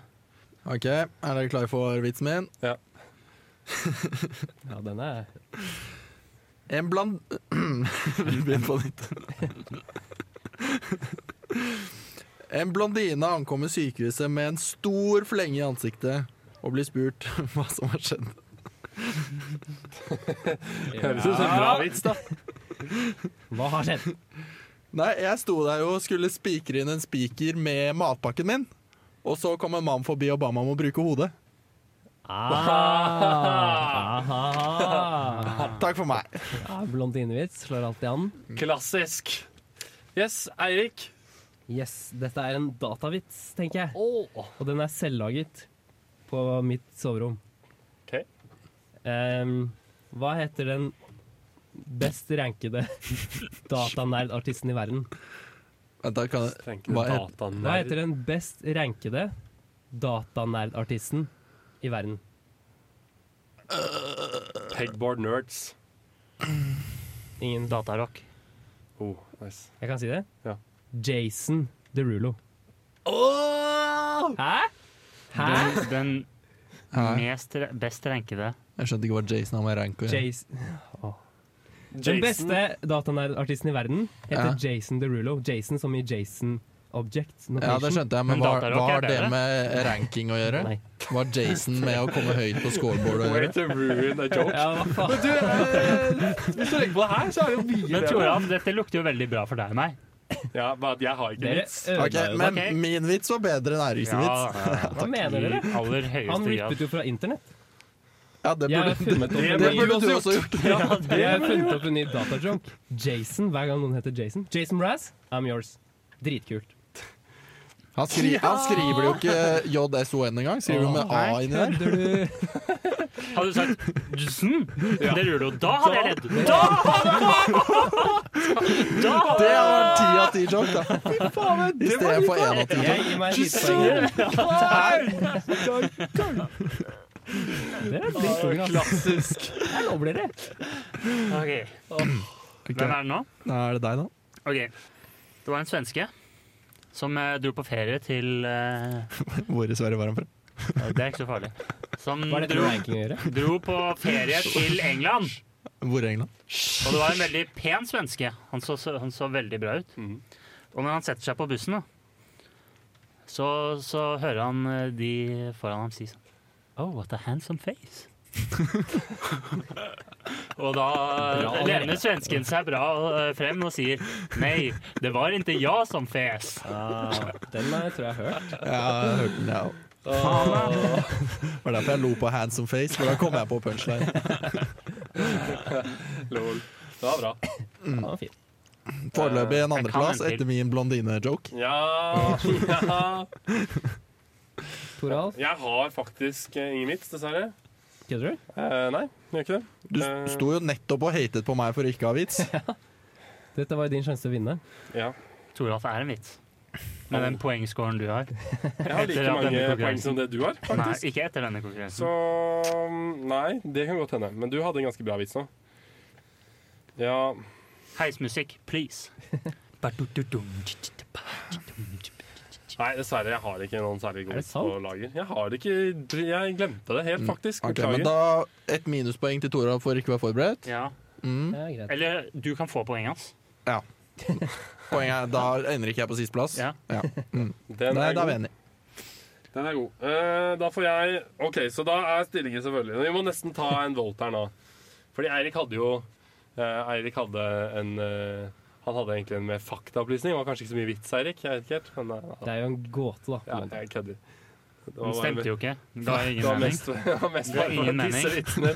Ok, Er dere klare for vitsen min?
Ja, den er
En bland... [clears throat] Vi begynner på nytt. En blondine ankommer sykehuset med en stor flenge i ansiktet og blir spurt [laughs] hva som har skjedd.
Høres ut som en bra vits, da.
Hva har skjedd?
Nei, jeg sto der og skulle spikre inn en spiker med matpakken min, og så kom en mann forbi og ba meg om å bruke hodet.
Ah,
Takk for meg.
Ja, Blondinevits Ah, slår alltid an.
Klassisk. Yes, Eirik.
Yes, dette er en datavits, tenker jeg.
Åh.
Og den er selvlaget på mitt soverom.
Ok.
Ehm, hva heter den best [laughs] rankede datanerdartisten i verden?
Vent, da kan jeg
Tenker
Hva
du
het-
dataen
Hva
der?
heter den best rankede datanerdartisten i verden?
Pegboard Nerds.
Ingen
Datarock.
Oh, nice.
Jeg kan si det?
Ja.
Jason Derulo.
Åh!
Hæ? Hæ?
Den, den
Hæ?
mest, best rankede
Jeg skjønte ikke hva Jason har med rank å gjøre.
Jason Den beste datanerdartisten i verden heter
Ja.
Jason Derulo. Jason som i Jason Object.
Ja,
Notation.
det skjønte jeg, men
Men
hva,
datarock
hva
er
har det
bedre.
med [laughs] ranking å gjøre?
Nei.
Var Jason med å komme høyt på scoreboard å [laughs]
Way
gjøre?
to ruin a joke.
[laughs] Ja, hva
[laughs]
faen?
Du, eh, hvis du legger på det her, så er det jo mye
Men
bedre.
Toralf, dette lukter jo veldig bra for deg og meg.
Ja, bare at jeg har ikke
Dere
vits.
Ok,
ødela jo det.
men
Ok.
min vits var bedre enn Eiriks vits.
Hva mener dere?
I aller
Han
høyeste grad.
rippet jo fra internett.
Ja, det
Jeg har
burde,
funnet opp
det
[laughs]
en
det
ny,
burde du også gjort.
Ja,
jeg har funnet opp en ny datajunk. Jason, hver gang noen heter Jason. Jason Mraz, I'm yours. Dritkult.
Han, skri, han skriver jo ikke JSON engang. Skriver jo med A inni der.
Kødder du?
Hadde du sagt Jason, det ruller jo. Da hadde jeg redd. Da! da hadde
Det var en ti av ti joke, da. I stedet for én av ti.
Jeg gir meg litt poeng. [laughs] Det er dritkult, ass.
Klassisk.
altså. Jeg lover dere.
jeg- Ok. Hvem er det nå?
Er det deg, da?
Ok. Det var en svenske som eh, dro på ferie til eh,
Hvor i Sverige var han fra?
Det er ikke så farlig. Som
Hva er dette
dro,
med ranking å gjøre?
dro på ferie til England.
Hvor i England?
Og det var en veldig pen svenske. Han så, så, han så veldig bra ut.
Mhm.
Og når han setter seg på bussen, da, så, så hører han eh, de foran ham si sånn Oh, what a handsome face. [laughs] og da
Bra.
lener svensken seg bra eh, frem og sier Nei, det var ikke jeg som fes.
Ah, den eh, tror jeg har hørt.
Ja, jeg hørte den, jeg òg.
Faen, da.
Det var derfor jeg lo på handsome face, for da kom jeg på punchline.
Lol. Det var bra.
Den var fin.
Foreløpig en
Eh, jeg kan
andreplass
en til.
etter min blondine-joke.
Ja, ja.
Tor Alf,
Jeg har faktisk eh, ingen vits, dessverre.
kødder du?
Eh, nei, jeg gjør ikke det.
Du
Eh.
sto jo nettopp og hatet på meg for ikke å ha
[laughs]
vits.
Dette var jo din sjanse til å vinne.
Ja.
Toralf er en vits. Med den poengscoren du har.
Jeg har like
Etter at
mange
denne
poeng
konkurransen-
som det du har,
Nei,
faktisk.
ikke etter denne
Så
konkurransen.
mm, nei, det kan godt hende. Men du hadde en ganske bra vits nå. Ja
Heismusikk, please.
Nei, dessverre. Jeg har ikke noen særlig
Er
god
det
vits på
sant?
lager. Jeg har det ikke Jeg glemte det helt, faktisk.
Ok, men
Beklager.
da Et minuspoeng til Tora for ikke å være forberedt.
Ja.
Mm.
Ja, greit.
Eller du kan få poenget hans.
Ja. Poenget er da ender ikke jeg på sisteplass.
Ja.
Ja.
Den
Nei, da er
er god.
vi enige.
Den er god. Eh, da får jeg OK, så da er stillingen selvfølgelig Vi må nesten ta en volt her nå. Fordi Eirik hadde jo eh, Eirik hadde en eh, Han hadde egentlig en mer faktaopplysning. Det var kanskje ikke så mye vits, Eirik. Jeg vet ikke helt. Men, eh,
Det er jo en gåte, da. på
ja,
en måte.
jeg kødder. Det
Den
bare-
stemte jo ikke. Det har
det var
ingen mening.
mest, [laughs] det var mest
Det er
bare for
ingen
å
mening.
tisse vitsene.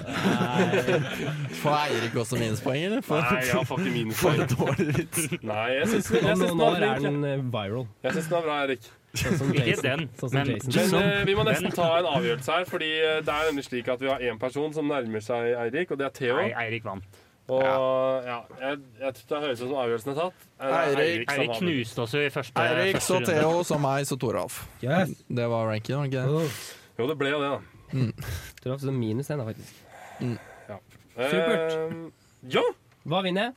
Får Eirik også minuspoeng, eller? For,
Nei, jeg får ikke
for
minuspoeng.
dårlig vits.
Nei, jeg syns den jeg
Om
syns den
noen
var
år er
flink.
den eh, viral.
Jeg syns den var bra, Eirik.
Sånn som
Ikke
Jason.
den,
Sånn som
men
Jason.
Men
Jason.
eh, vi må nesten ta en avgjørelse her, Fordi eh, det er nemlig slik at vi har én person som nærmer seg Eirik, og det er Theo.
Nei, Eirik vant.
Og ja, jeg, jeg tror det høres ut som avgjørelsen er tatt. Eh,
Eirik-
som
Eirik
avgjør.
knuste oss jo i første,
Eirik,
første
så
runde.
Theo, så meg, så Toralf.
Yes.
Det var ranken. var det ikke det?
Oh,
Jo, det ble jo det, da.
Tor Alf, så minus den, da, faktisk.
Eh,
Supert.
ja,
Hva vinner jeg?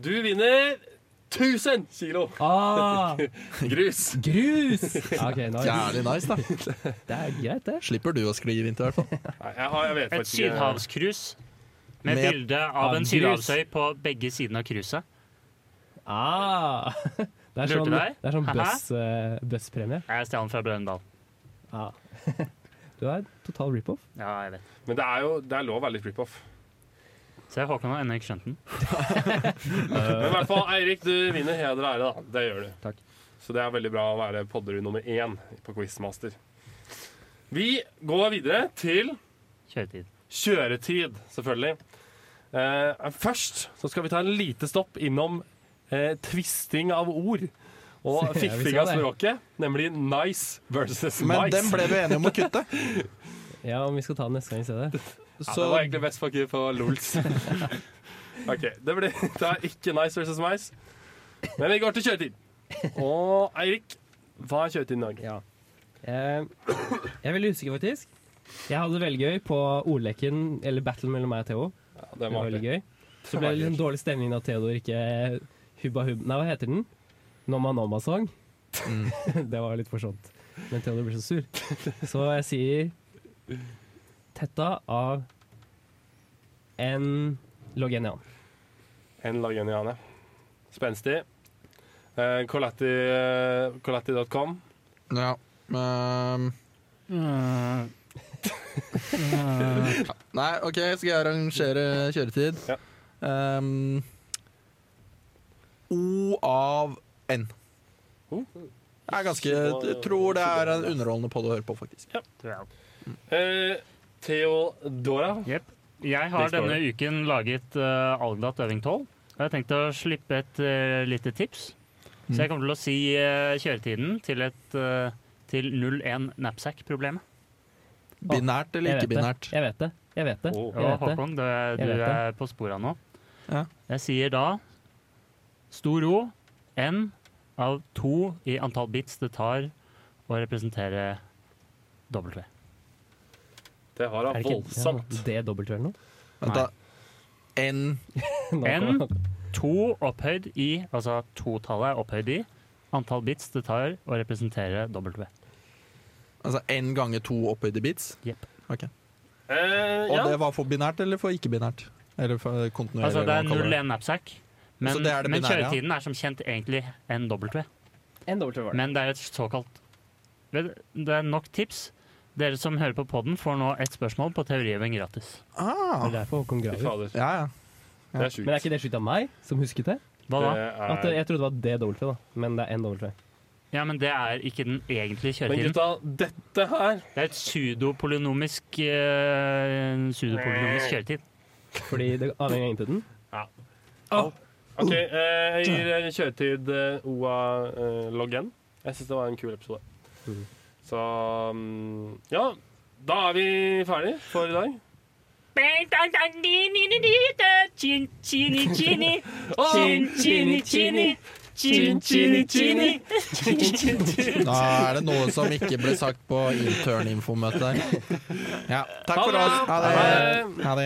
du vinner 1000 kilo
Ah,
grus.
grus! Ja, ok, nå er
Jævlig nice, da.
det, det er greit, det.
Slipper du å skli i vinter, i hvert fall.
Nei, jeg, har, jeg vet
Et
faktisk ikke.
sydhavskrus med,
Med-
bilde av
av
en
grus.
sydhavsøy på begge sidene av kruset.
Ah. [laughs] Det er
Lurte
sånn,
deg?
det er sånn
Hæ?
buss, eh, busspremie.
Jeg stjal den fra Brøndal.
Ah. Du er total rip-off.
Ja, jeg vet.
Men det er jo det er lov å være litt rip-off.
Så jeg Håkon har ennå ikke skjønt den.
Men i hvert fall, Eirik, du vinner heder og ære, da. Det gjør du.
Takk.
Så det er veldig bra å være podderud nummer én på Quizmaster. Vi går videre til
Kjøretid.
kjøretid, selvfølgelig. Eh, først så skal vi ta en lite stopp innom eh, twisting av ord.
[laughs] Ja,
Og
vi skal
fiffing av
det.
språket, nemlig nice versus
Men
mice.
den ble vi enige om å kutte.
Ja, om vi skal ta den neste gang i stedet.
ja,
Så
det var egentlig best for ikke på
[laughs]
LOLs. ok, det, blir, [laughs] det er ikke nice versus mice. Men vi går til kjøretid. Og Eirik, hva er kjøretid i Norge?
Ja. [laughs] Eh, jeg er veldig usikker, faktisk. Jeg hadde det veldig gøy på ordleken, eller battle mellom meg og Theo.
Ja, det
Det
var
var veldig
artig.
gøy. Så ble det litt sånn dårlig stemning da Theodor ikke hubba hub... Nei, hva heter den? Nomma Nomma Song. [laughs] det var litt morsomt. Men Theodor blir så sur. Så jeg sier Tetta av en Logenian.
En lageniane. Spenstig. Eh, Coletti, eh, Coletti.com.
ja. ehm, Nei, OK, skal jeg arrangere kjøretid?
Ja.
Ehm, o av N.
O?
Jeg er ganske, jeg tror det er en underholdende podd å høre på, faktisk.
Eh, Theodora.
Jepp. Jeg
Next
har denne
story.
uken laget uh, Algdat øving 12. Og jeg har tenkt å slippe et eh, lite tips.
Mm.
Så jeg kommer til å si eh, kjøretiden til, et, eh, til 01 Knapsack-problemet.
Binært eller
Jeg
ikke
vet
binært?
det. Jeg vet det. Jeg vet det.
Åh.
Ja,
Jeg vet det.
Håkon, du, er-
Jeg
du
vet det.
er på sporet nå.
Ja.
Jeg sier da stor O, N av to i antall bits det tar å representere W.
Det har
Er
han
det ikke
voldsomt.
ja, det dobbelt eller noe?
Vent, da. N
Nå
N.
kommer-
To opphøyd i, altså totallet er opphøyd i, antall bits det tar å representere W.
Altså N ganger to opphøyde bits?
Jepp.
Ok.
Eh,
Og
ja.
det var for binært eller for ikke binært? Eller for kontinuerlig?
Altså det
eller
er
hva man kaller
01 knapsack. Men,
Så Altså, det er det
men
binære, ja.
kjøretiden er som kjent egentlig en W.
En dobbelt var det.
Men det er et såkalt Vel, Det er nok tips. Dere som hører på podden får nå ett spørsmål på teoriøving gratis.
Det
Ah,
er derfor Håkon
Fy
graver.
fader.
ja, ja.
Det er
Men er
sjukt.
ikke det skytt av meg som husket det?
Hva da?
Det
At
er-
jeg trodde det var det dobbelt da, men det er en dobbelt
Ja, men det er ikke den egentlige
Men
kjøretiden.
gutta, dette her
Det er et sudopolynomisk eh, en sudopolynomisk kjøretid.
Fordi det avhenger av inntiden.
Ja.
Oh.
OK, eh, jeg gir eh, kjøretid eh, OA eh, logg N. Jeg syns det var en kul episode. Så mm, Ja, da er vi ferdig for i dag.
Da er det noe som ikke ble sagt på intern-infomøtet. Ja, takk
Ha
for
det
oss.
bra.
Ha det.
Ha det.
Ha det.